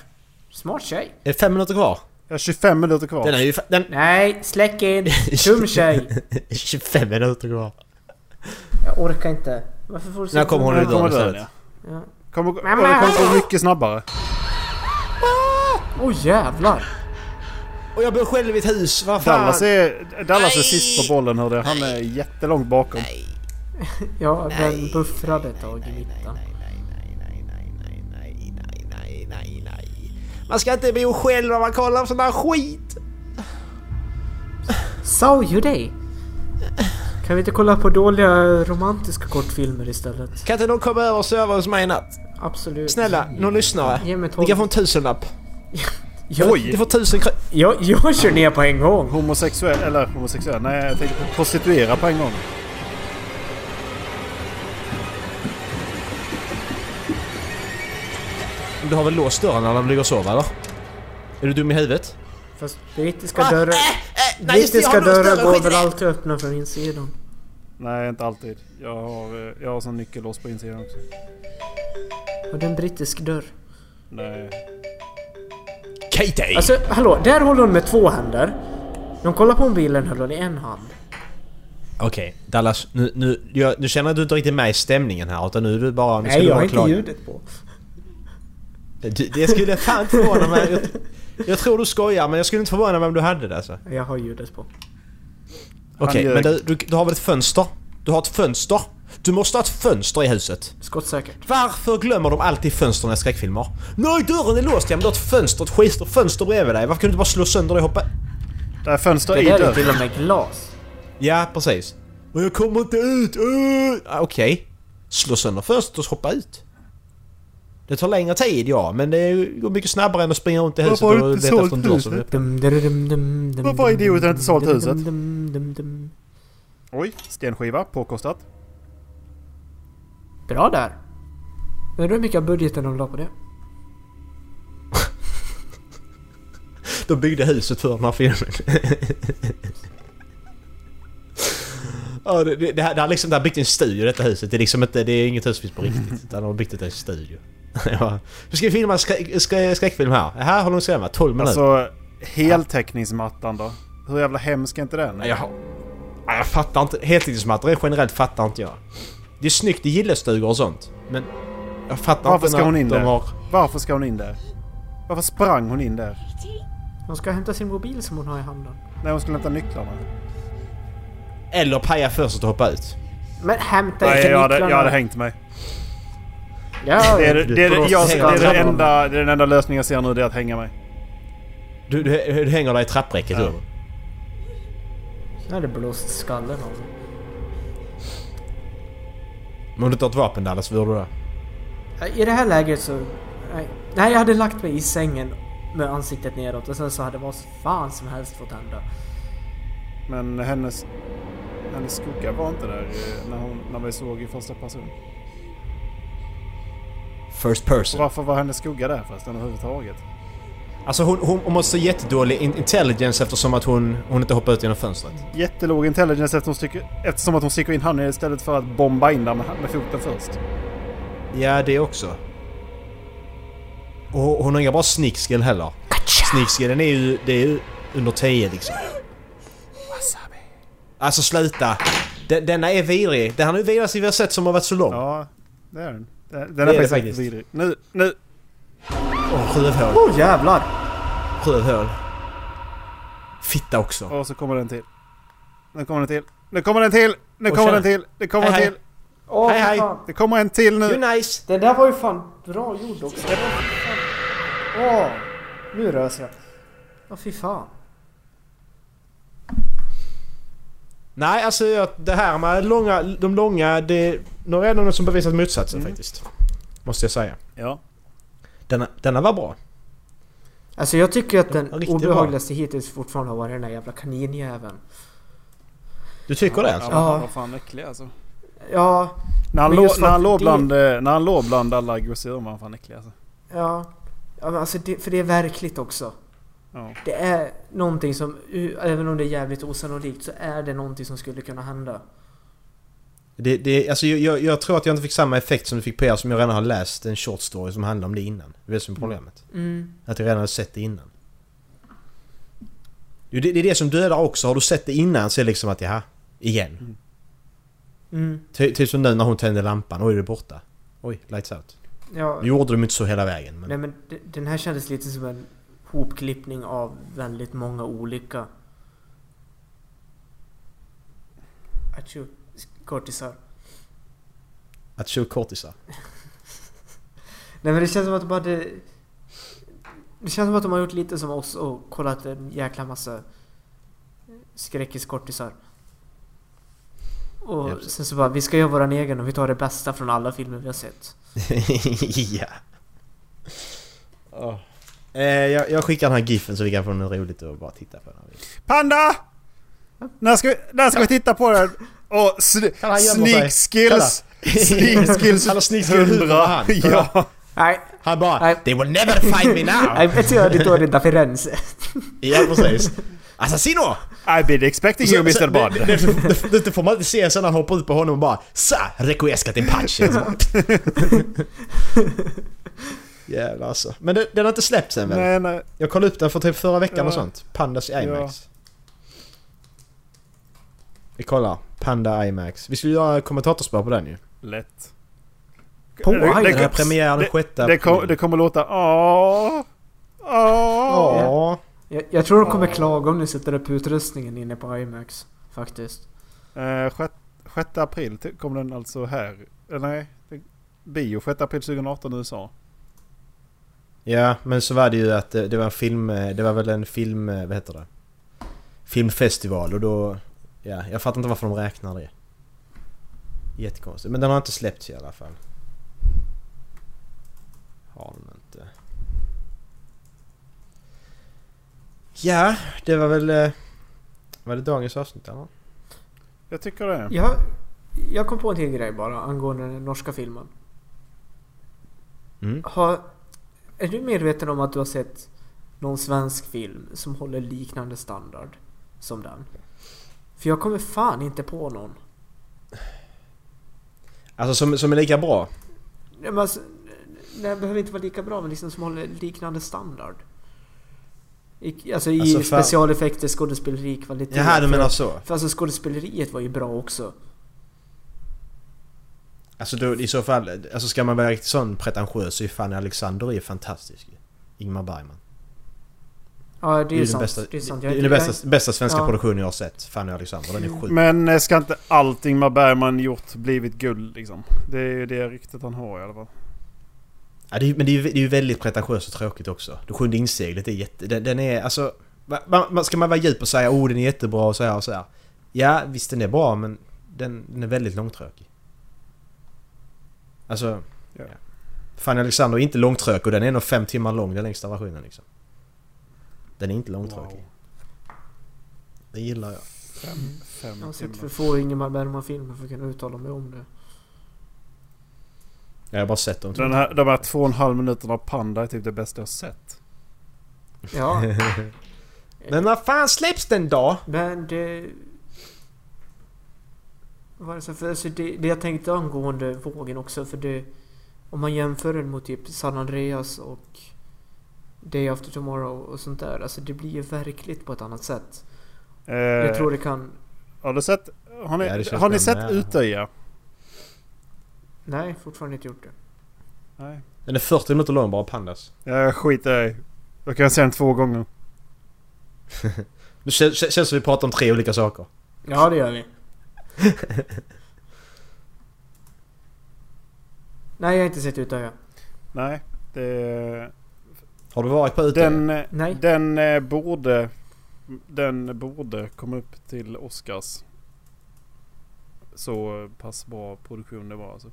S7: Smart tjej.
S8: Är det fem minuter kvar?
S6: Jag har 25 minuter kvar.
S8: Den är ju... fa- Den...
S7: Nej, släck in. Dum tjej.
S8: 25 minuter kvar.
S7: Jag orkar inte. Varför får du så
S8: När kommer hon
S6: Nu
S8: i dörren
S6: kommer dörren,
S8: istället?
S6: ja. Kommer, och det kommer gå mycket snabbare.
S7: Åh jävlar.
S8: Och jag bor själv i ett hus, vad fan?
S6: Dallas är, Dallas är sist på bollen hörde jag. Han är jättelångt bakom.
S7: Ja, den buffrade ett tag i mitten.
S8: Man ska inte bo själv när man kollar på sån här skit!
S7: Saw you day? Kan vi inte kolla på dåliga romantiska kortfilmer istället?
S8: Kan inte någon komma över och sova hos mig i natt?
S7: Absolut.
S8: Snälla, någon lyssnare.
S7: Ge mig tolv.
S8: Ni kan få en tusenlapp.
S7: Oj!
S8: Du får tusen kr-
S7: Jag, jag kör ner på en gång.
S6: Homosexuell, eller homosexuell, nej jag tänkte på prostituera på en gång.
S8: Du har väl låst dörren när de ligger och sover eller? Är du dum i huvudet?
S7: Fast brittiska dörrar...
S8: Ah, eh, nej, just det,
S7: Brittiska
S8: jag har låst
S7: dörrar
S8: dörren,
S7: går
S8: skit i
S7: väl
S8: det.
S7: alltid öppna från insidan?
S6: Nej inte alltid. Jag har, eh, jag har sån nyckellås på insidan också.
S7: Har du en brittisk dörr?
S6: Nej.
S8: Katie!
S7: Alltså, hallå, där håller hon med två händer. När hon kollar på mobilen höll hon i en hand.
S8: Okej, Dallas. Nu, nu, jag, nu känner jag att du inte riktigt är med i stämningen här utan nu är du bara... Nu ska du bara klaga.
S7: på.
S8: Du, det skulle fan inte förvåna mig. Jag, jag tror du skojar men jag skulle inte förvåna mig om du hade det alltså.
S7: Jag har ljudet på.
S8: Okej,
S6: ljög.
S8: men du, du, du har väl ett fönster? Du har ett fönster? Du måste ha ett fönster i huset.
S7: Skottsäkert.
S8: Varför glömmer de alltid fönstren i skräckfilmer? Nej, dörren är låst! Ja, men du har ett fönster, ett skitstort fönster bredvid dig. Varför kan du inte bara slå sönder det och hoppa...
S6: Det här fönster i
S7: Det där är till
S6: dörren.
S7: och med glas.
S8: Ja, precis. Och jag kommer inte ut! Uh! Ah, Okej. Slå sönder fönstret och hoppa ut. Det tar längre tid, ja, men det är ju- går mycket snabbare än att springa runt i huset
S6: har du
S8: och
S6: inte
S8: leta
S6: sålt
S8: efter en dörr som
S6: huset?
S7: Dum, dum, dum, dum, dum,
S6: Varför har
S7: dum,
S6: idioten inte sålt
S7: dum,
S6: huset?
S7: dum, dum, dum.
S6: Oj, stenskiva påkostat.
S7: Bra där. Undrar hur mycket av budgeten de la på det?
S8: De byggde huset för den här filmen. ja, det, det, det, här, det, här liksom, det har byggt en studio detta huset. Det är liksom inte, det är inget hus som finns på
S6: Mm.
S8: riktigt. Utan de har byggt det i en studio. ja. Nu ska vi filma en skräck, skrä- skräckfilm här. Här har de skrämma 12 minuter.
S6: Alltså heltäckningsmattan då. Hur jävla hemsk är inte den?
S8: Ja, jag har... Nej, Jag fattar inte. Heltidsmattor generellt fattar inte jag. Det är snyggt i gillestugor och sånt. Men jag fattar
S6: Varför
S8: inte
S6: ska hon in
S8: de
S6: där?
S8: har...
S6: Varför ska hon in där? Varför sprang hon in där?
S7: Hon ska hämta sin mobil som hon har i handen.
S6: När hon skulle hämta nycklarna?
S8: Eller paja först och hoppa ut.
S7: Men hämta
S6: Nej,
S7: inte
S6: jag hade,
S7: nycklarna!
S6: jag hade hängt mig.
S7: Ja,
S6: Det är, det, det, är, det- jag, det, är det,
S7: Trappan.
S6: enda, det är den enda lösningen jag ser nu, det är att hänga mig.
S8: Du, du, du hänger där i trappräcket.
S6: Ja.
S8: du.
S7: Jag hade blåst skallen av honom.
S8: Men om du inte har ett vapen Dallas, vad gör du då?
S7: I det här läget så... Nej, nej, jag hade lagt mig i sängen med ansiktet neråt och sen så hade vad fan som helst fått hända.
S6: Men hennes, hennes skugga var inte där eh, när, hon, när vi såg i första person.
S8: First person.
S6: Så varför var hennes skugga där förresten överhuvudtaget?
S8: Alltså hon, hon, hon måste ha jättedålig in- intelligence eftersom att hon, hon inte hoppar ut genom fönstret.
S6: Jättelåg intelligence eftersom, hon sticker, eftersom att hon sticker in handen istället för att bomba in där med, med foten först.
S8: Ja, det också. Och hon hon har inga bra sneak skill heller. Sneak skillen är ju, det är ju under 10 liksom. Alltså sluta! Den, denna är vidrig. Det här är den vidrigaste vi har sett som har varit så lång. Åh,
S6: Ja, det är den. Den,
S8: är
S6: är,
S8: det
S6: faktiskt,
S8: faktiskt.
S6: vidrig. Nu, nu!
S8: rövhål.
S7: Åh jävlar!
S8: Rövhål. Fitta också.
S6: Och så kommer den till. Nu kommer den till. Nu kommer den till! Nu
S8: Och
S6: kommer
S8: tjena.
S6: den till! Det kommer en
S8: Hej, hej.
S6: till!
S7: Åh,
S8: Hej,
S7: för
S8: hej.
S7: fan.
S6: Det kommer en till nu!
S8: You nice!
S7: Den där var ju fan bra gjord också. Det var fan- Åh, nu rös jag. Åh fy fan.
S8: Nej, alltså jag- det här med långa, de långa, det... Några är de som bevisat motsatsen faktiskt. Måste jag säga.
S6: Ja.
S8: Mm. Denna, denna var bra.
S7: Alltså jag tycker att den
S8: riktigt bra.
S7: obehagligaste hittills fortfarande har varit den där jävla kaninjäveln.
S8: Du tycker det alltså?
S6: Ja,
S7: Ja.
S6: Vad fan äcklig alltså.
S7: Ja,
S6: När han,
S7: Men
S6: lå,
S7: just
S6: när,
S7: att
S6: han låg
S7: det-
S6: bland, eh, när han låg bland alla grossirer var han fan äcklig alltså.
S7: ja. ja men alltså det, för det är verkligt också.
S6: Ja.
S7: Det är någonting som, u- även om det är jävligt osannolikt, så är det någonting som skulle kunna hända.
S8: Det, det, alltså jag- jag, jag tror att jag inte fick samma effekt som du fick på er som jag redan har läst en short story som handlar om det innan. Det är det som är problemet.
S7: Mm.
S8: Att jag redan har sett det innan. Jo, det, det är det som dödar också. Har du sett det innan så är det liksom att jaha, igen.
S7: Mm.
S8: Ty- Typ som nu när hon tände lampan. Oj, är det borta. Oj, lights out.
S7: Ja,
S8: Nu gjorde de inte så hela vägen. Men...
S7: nej men d- den här kändes lite som en hopklippning av väldigt många olika... Atjo, kortisar.
S8: Att tjo kortisar.
S7: Nej men det känns som att de hade... Det känns som att de har gjort lite som oss och kollat en jäkla massa skräckiskortisar. Och
S8: Japp.
S7: sen så bara, vi ska göra våran egen och vi tar det bästa från alla filmer vi har sett.
S8: ja. Eh, jag, jag skickar den här giffen så vi kan få något roligt att bara titta på. Den.
S6: Panda! När ska, vi- när ska vi titta på den? Och sn-
S8: Kalla, gömma
S6: sneak
S8: sig.
S6: skills! Sneak skills
S8: Han har sneak skill i huvudet, han.
S6: Ja!
S7: Nej,
S8: Han bara
S7: Nej.
S8: “They will never find me now!”
S7: nej vet du vad det står i Firenze?
S8: Ja precis. Assassino!
S6: I've been expecting you Mr. Bond.
S8: Det, det, det, det får man inte se sen när han hoppar ut på honom och bara “Sa! Requiescat in pace!” Så bara- Jävlar alltså. Men det, den har inte släppts än väl?
S6: Nej, nej.
S8: Jag kollade upp den för typ förra veckan
S6: Ja.
S8: och sånt. Pandas i IMAX. Vi kollar. Panda IMAX. Vi skulle göra kommentatorspår på den ju.
S6: Lätt.
S7: På
S6: Det- det-
S8: Den här
S7: Iron.
S8: premiären den
S6: det-
S8: sjätte
S6: Det, kom, det kommer låta åh, åh.
S8: Ja.
S7: Jag, jag tror de kommer klaga om ni sätter upp utrustningen inne på IMAX. Faktiskt.
S6: Eh, sjätt- sjätte april t- kom den alltså här. Eh, nej, det, bio 6 april 2018 i USA.
S8: Ja, men så var det ju att eh, det, det var en film... Det var väl en film... eh, Vad heter det? Filmfestival och då... Ja, jag fattar inte varför de räknar det. Jättekonstigt. Men den har inte släppts i alla fall. Har den inte. Ja, det var väl... eh, Var det dagens avsnitt eller?
S6: Jag tycker det.
S7: Jag, jag kom på en till grej bara angående den norska filmen.
S8: Mm.
S7: Har, är du medveten om att du har sett någon svensk film som håller liknande standard som den? För jag kommer fan inte på någon.
S8: Alltså som, som är lika bra?
S7: Nej, men alltså, nej, det behöver inte vara lika bra men liksom som håller liknande standard. I, alltså i
S8: Alltså, fan.
S7: specialeffekter, skådespeleri, kvalitet.
S8: Jaha, du
S7: För-
S8: menar så?
S7: För alltså skådespeleriet var ju bra också.
S8: Alltså då, i så fall, alltså ska man vara riktigt sån pretentiös så är fan Alexander är fantastisk ju. Ingmar Bergman.
S7: Ja, det är ju
S8: den
S7: sant.
S8: bästa,
S7: det är sant.
S8: det
S7: Jag
S8: är
S7: är
S8: den
S7: inte-
S8: bästa, bästa svenska
S7: Ja. Mm.
S8: produktionen jag har sett. Fanny Alexander, den är sjuk.
S6: Men eh, ska inte allt Ingmar Bergman gjort blivit guld liksom? Det är ju det ryktet han har i alla fall.
S8: Ja, det är, ju- men det är, ju- det är ju väldigt pretentiöst och tråkigt också. Det sjunde inseglet är jätte... Den, den är alltså... va- Man, man, ska man vara djup och säga oh den är jättebra och så här och så här. Ja visst den är bra men den, den är väldigt långtråkig. Alltså...
S6: Ja.
S8: Ja. Fanny Alexander är inte långtråkig och den är nog fem timmar lång den längsta versionen liksom. Den är inte långtråkig.
S6: Wow.
S8: Den gillar jag.
S6: Fem, fem
S7: Jag har sett för
S6: timmar.
S7: få Ingemar Bergman-filmer för att kunna uttala mig om det.
S8: Jag har bara sett dem.
S6: Den här, de här två och en halv minuterna av Panda är typ det bästa jag har sett.
S7: Ja,
S8: Men när fan släpps den då?
S7: men det... Vad var det så för... Alltså det, det jag tänkte angående vågen också för det... Om man jämför den mot typ San Andreas och Day After Tomorrow och sånt där. Alltså det blir ju verkligt på ett annat sätt.
S6: Eh,
S7: Jag tror det kan...
S6: Har du sett... Har ni,
S8: Ja, det känns
S6: har ni
S8: den
S6: sett
S8: med.
S6: Utöja?
S7: Nej, fortfarande inte gjort det.
S6: Nej.
S8: Den är 40 minuter lång bara pandas.
S6: Jag skiter i. Då kan jag se den två gånger.
S8: Nu kän- kän- känns det som vi pratar om tre olika saker.
S7: Ja, det gör vi. Nej, jag har inte sett ut jag.
S6: Nej. Det...
S8: Har du varit på Utöya?
S6: Den, eh,
S7: Nej.
S6: den eh, borde... Den borde komma upp till Oscars. Så pass bra produktion det var alltså.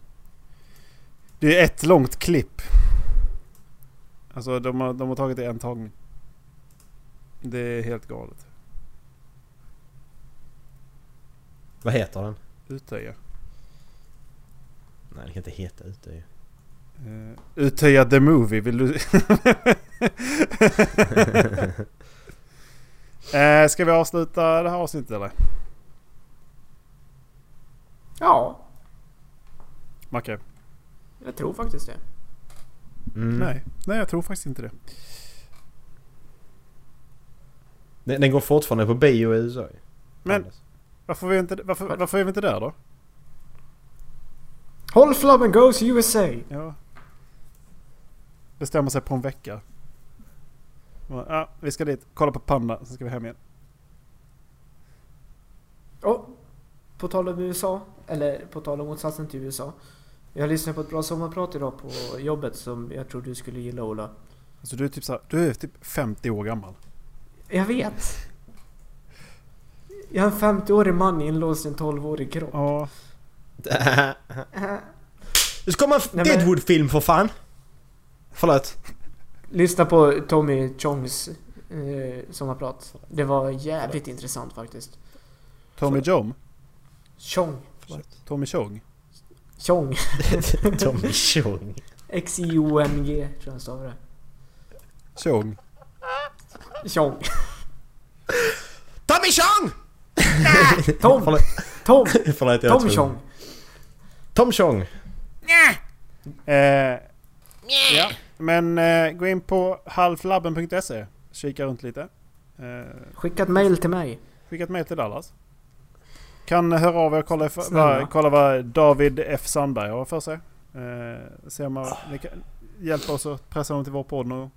S6: Det är ett långt klipp. Alltså de har, de har tagit det i en tagning. Det är helt galet.
S8: Vad heter den?
S6: Utöja.
S8: Nej, den kan inte heta Utöya.
S6: Uh, Utöja the Movie, vill du... Eh, ska vi avsluta det här avsnittet eller?
S7: Ja,
S6: Macke?
S7: jag tror faktiskt det.
S8: Mm.
S6: Nej. Nej, jag tror faktiskt inte det.
S8: Den, den går fortfarande på bio i USA ju.
S6: Men
S8: Anders.
S6: varför är vi inte, varför, varför är vi inte där då?
S7: Håll flabben goes USA!
S6: Ja. Bestämmer sig på en vecka. Ja, ah, vi ska dit, kolla på Panda, sen ska vi hem igen.
S7: Och på tal om USA, eller på tal om motsatsen till USA. Jag lyssnade på ett bra sommarprat idag på jobbet som jag tror du skulle gilla Ola.
S6: Alltså du är typ så här, du är typ 50 år gammal.
S7: Jag vet! Jag är en 50-årig man inlåst i en 12-årig kropp.
S6: Ja.
S8: Det ska komma en f-
S7: Nej, men-
S8: Deadwood-film för fan! Förlåt.
S7: Lyssna på Tommy Chongs eh, sommarprat. Det var jävligt intressant faktiskt.
S6: Tommy Jom?
S7: Chong.
S6: Tommy Chong?
S7: Chong.
S8: Tommy Chung.
S7: X-I-O-N-G tror jag han stavar
S6: Chong?
S7: det. Chong.
S8: Tommy Chung!
S7: Tom! Tom!
S8: Förlåt, jag var
S7: Tom
S8: tvungen.
S7: Chong.
S8: Tom Chung.
S6: Eh, ja. Men eh, gå in på halflabben.se. Kika runt lite. Eh,
S7: Skicka ett mail till mig.
S6: Skicka ett mejl till Dallas. Kan höra av er och kolla, if-
S7: Snälla.
S6: vad- kolla vad David F Sandberg har för sig. Eh, se om man- ni kan hjälpa oss att pressa honom till vår podd någon gång.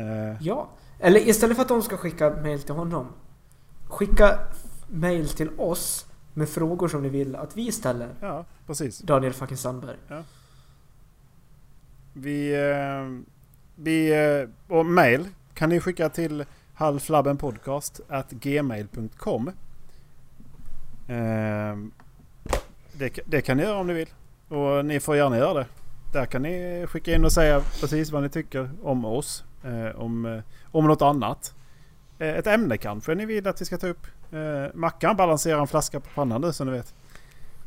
S6: eh,
S7: Ja. Eller istället för att de ska skicka mail till honom. Skicka f- mail till oss med frågor som ni vill att vi ställer.
S6: Ja, precis.
S7: Daniel fucking Sandberg.
S6: Vi... Eh, vi eh, och mejl kan ni skicka till halflabbenpodcast.gmail.com eh, det, ka- det kan ni göra om ni vill. Och ni får gärna göra det. Där kan ni skicka in och säga precis vad ni tycker om oss. Eh, om, eh, om något annat. Eh, ett ämne kanske ni vill att vi ska ta upp. Eh, Mackan balanserar en flaska på pannan nu som ni vet.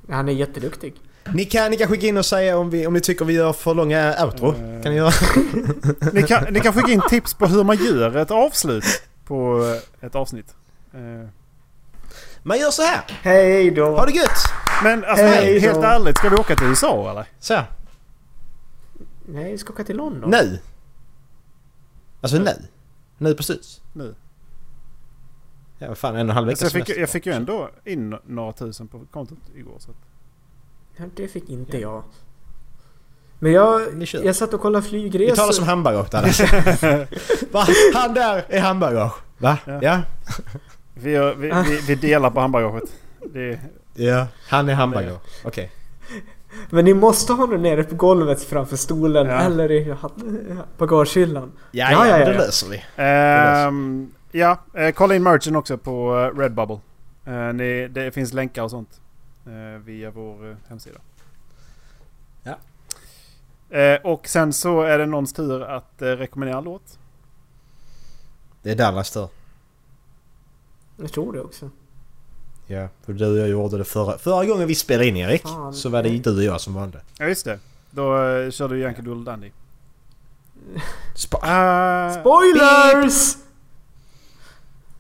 S7: Han är jätteduktig.
S8: Ni kan, ni kan skicka in och säga om, vi, om ni tycker vi gör för långa outro.
S6: Eh.
S7: Mm.
S8: Kan ni göra?
S6: Ni kan, ni kan skicka in tips på hur man gör ett avslut på eh, ett avsnitt. Eh,
S8: Man gör så här.
S7: Hej då!
S8: Ha det gött!
S6: Men alltså,
S7: Hej då.
S6: helt ärligt, ska vi åka till USA eller?
S8: Så här.
S7: Nej, vi ska åka till London.
S8: Nu! Alltså nu. Nu precis.
S6: Nu.
S8: Ja, vad fan, en och en halv vecka
S6: Alltså jag, fick,
S8: semester.
S6: jag fick ju ändå in några tusen på kontot igår. Så att,
S7: Ja, det fick inte jag. Men jag,
S8: Ni kör.
S7: jag satt och kollade flygresor.
S8: Vi talar som hamburgare där. Va? Han där är hamburgare. Va?
S6: Ja.
S8: Ja.
S6: vi, gör, vi, vi, vi delar på hamburgerskit. Det,
S8: Ja. Han är hamburgare. Okej.
S7: Men ni måste ha honom nere på golvet framför stolen
S6: Ja.
S7: eller i ha- bagagehyllan.
S8: Ja,
S7: Ja, ja,
S8: ja,
S7: ja.
S8: men det löser vi.
S6: Ehm, ja, eh, kolla in merchen också på eh, Redbubble. Eh, ni, det finns länkar och sånt eh, via vår eh, hemsida.
S8: Ja.
S6: Eh, och sen så är det någons tur att eh, rekommendera en låt.
S8: Det är Dallas tur.
S7: Jag tror det också.
S8: Ja, för du och jag gjorde det förra, förra gången vi spelade in Erik.
S7: Fan.
S8: Så var det ju du och jag som valde.
S6: Ja, just det. Då eh, kör du Yankee Doodle Dandy.
S8: Spa-
S6: Ah,
S7: Spoilers!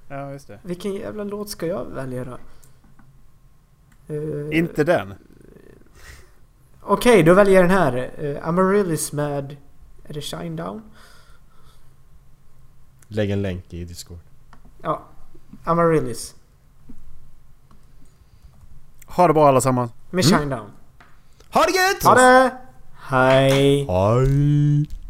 S6: ja, just det.
S7: Vilken jävla låt ska jag välja då? Eh,
S6: Inte den.
S7: Okej, då väljer jag den här. Uh, Amaryllis med... Är det Shine Down?
S8: Lägg en länk i Discord.
S7: Ja. Amaryllis.
S6: Ha det bra allesammans.
S7: Med Shine Down.
S8: Ha det gött!
S7: Ha det! Hej!
S8: Hej!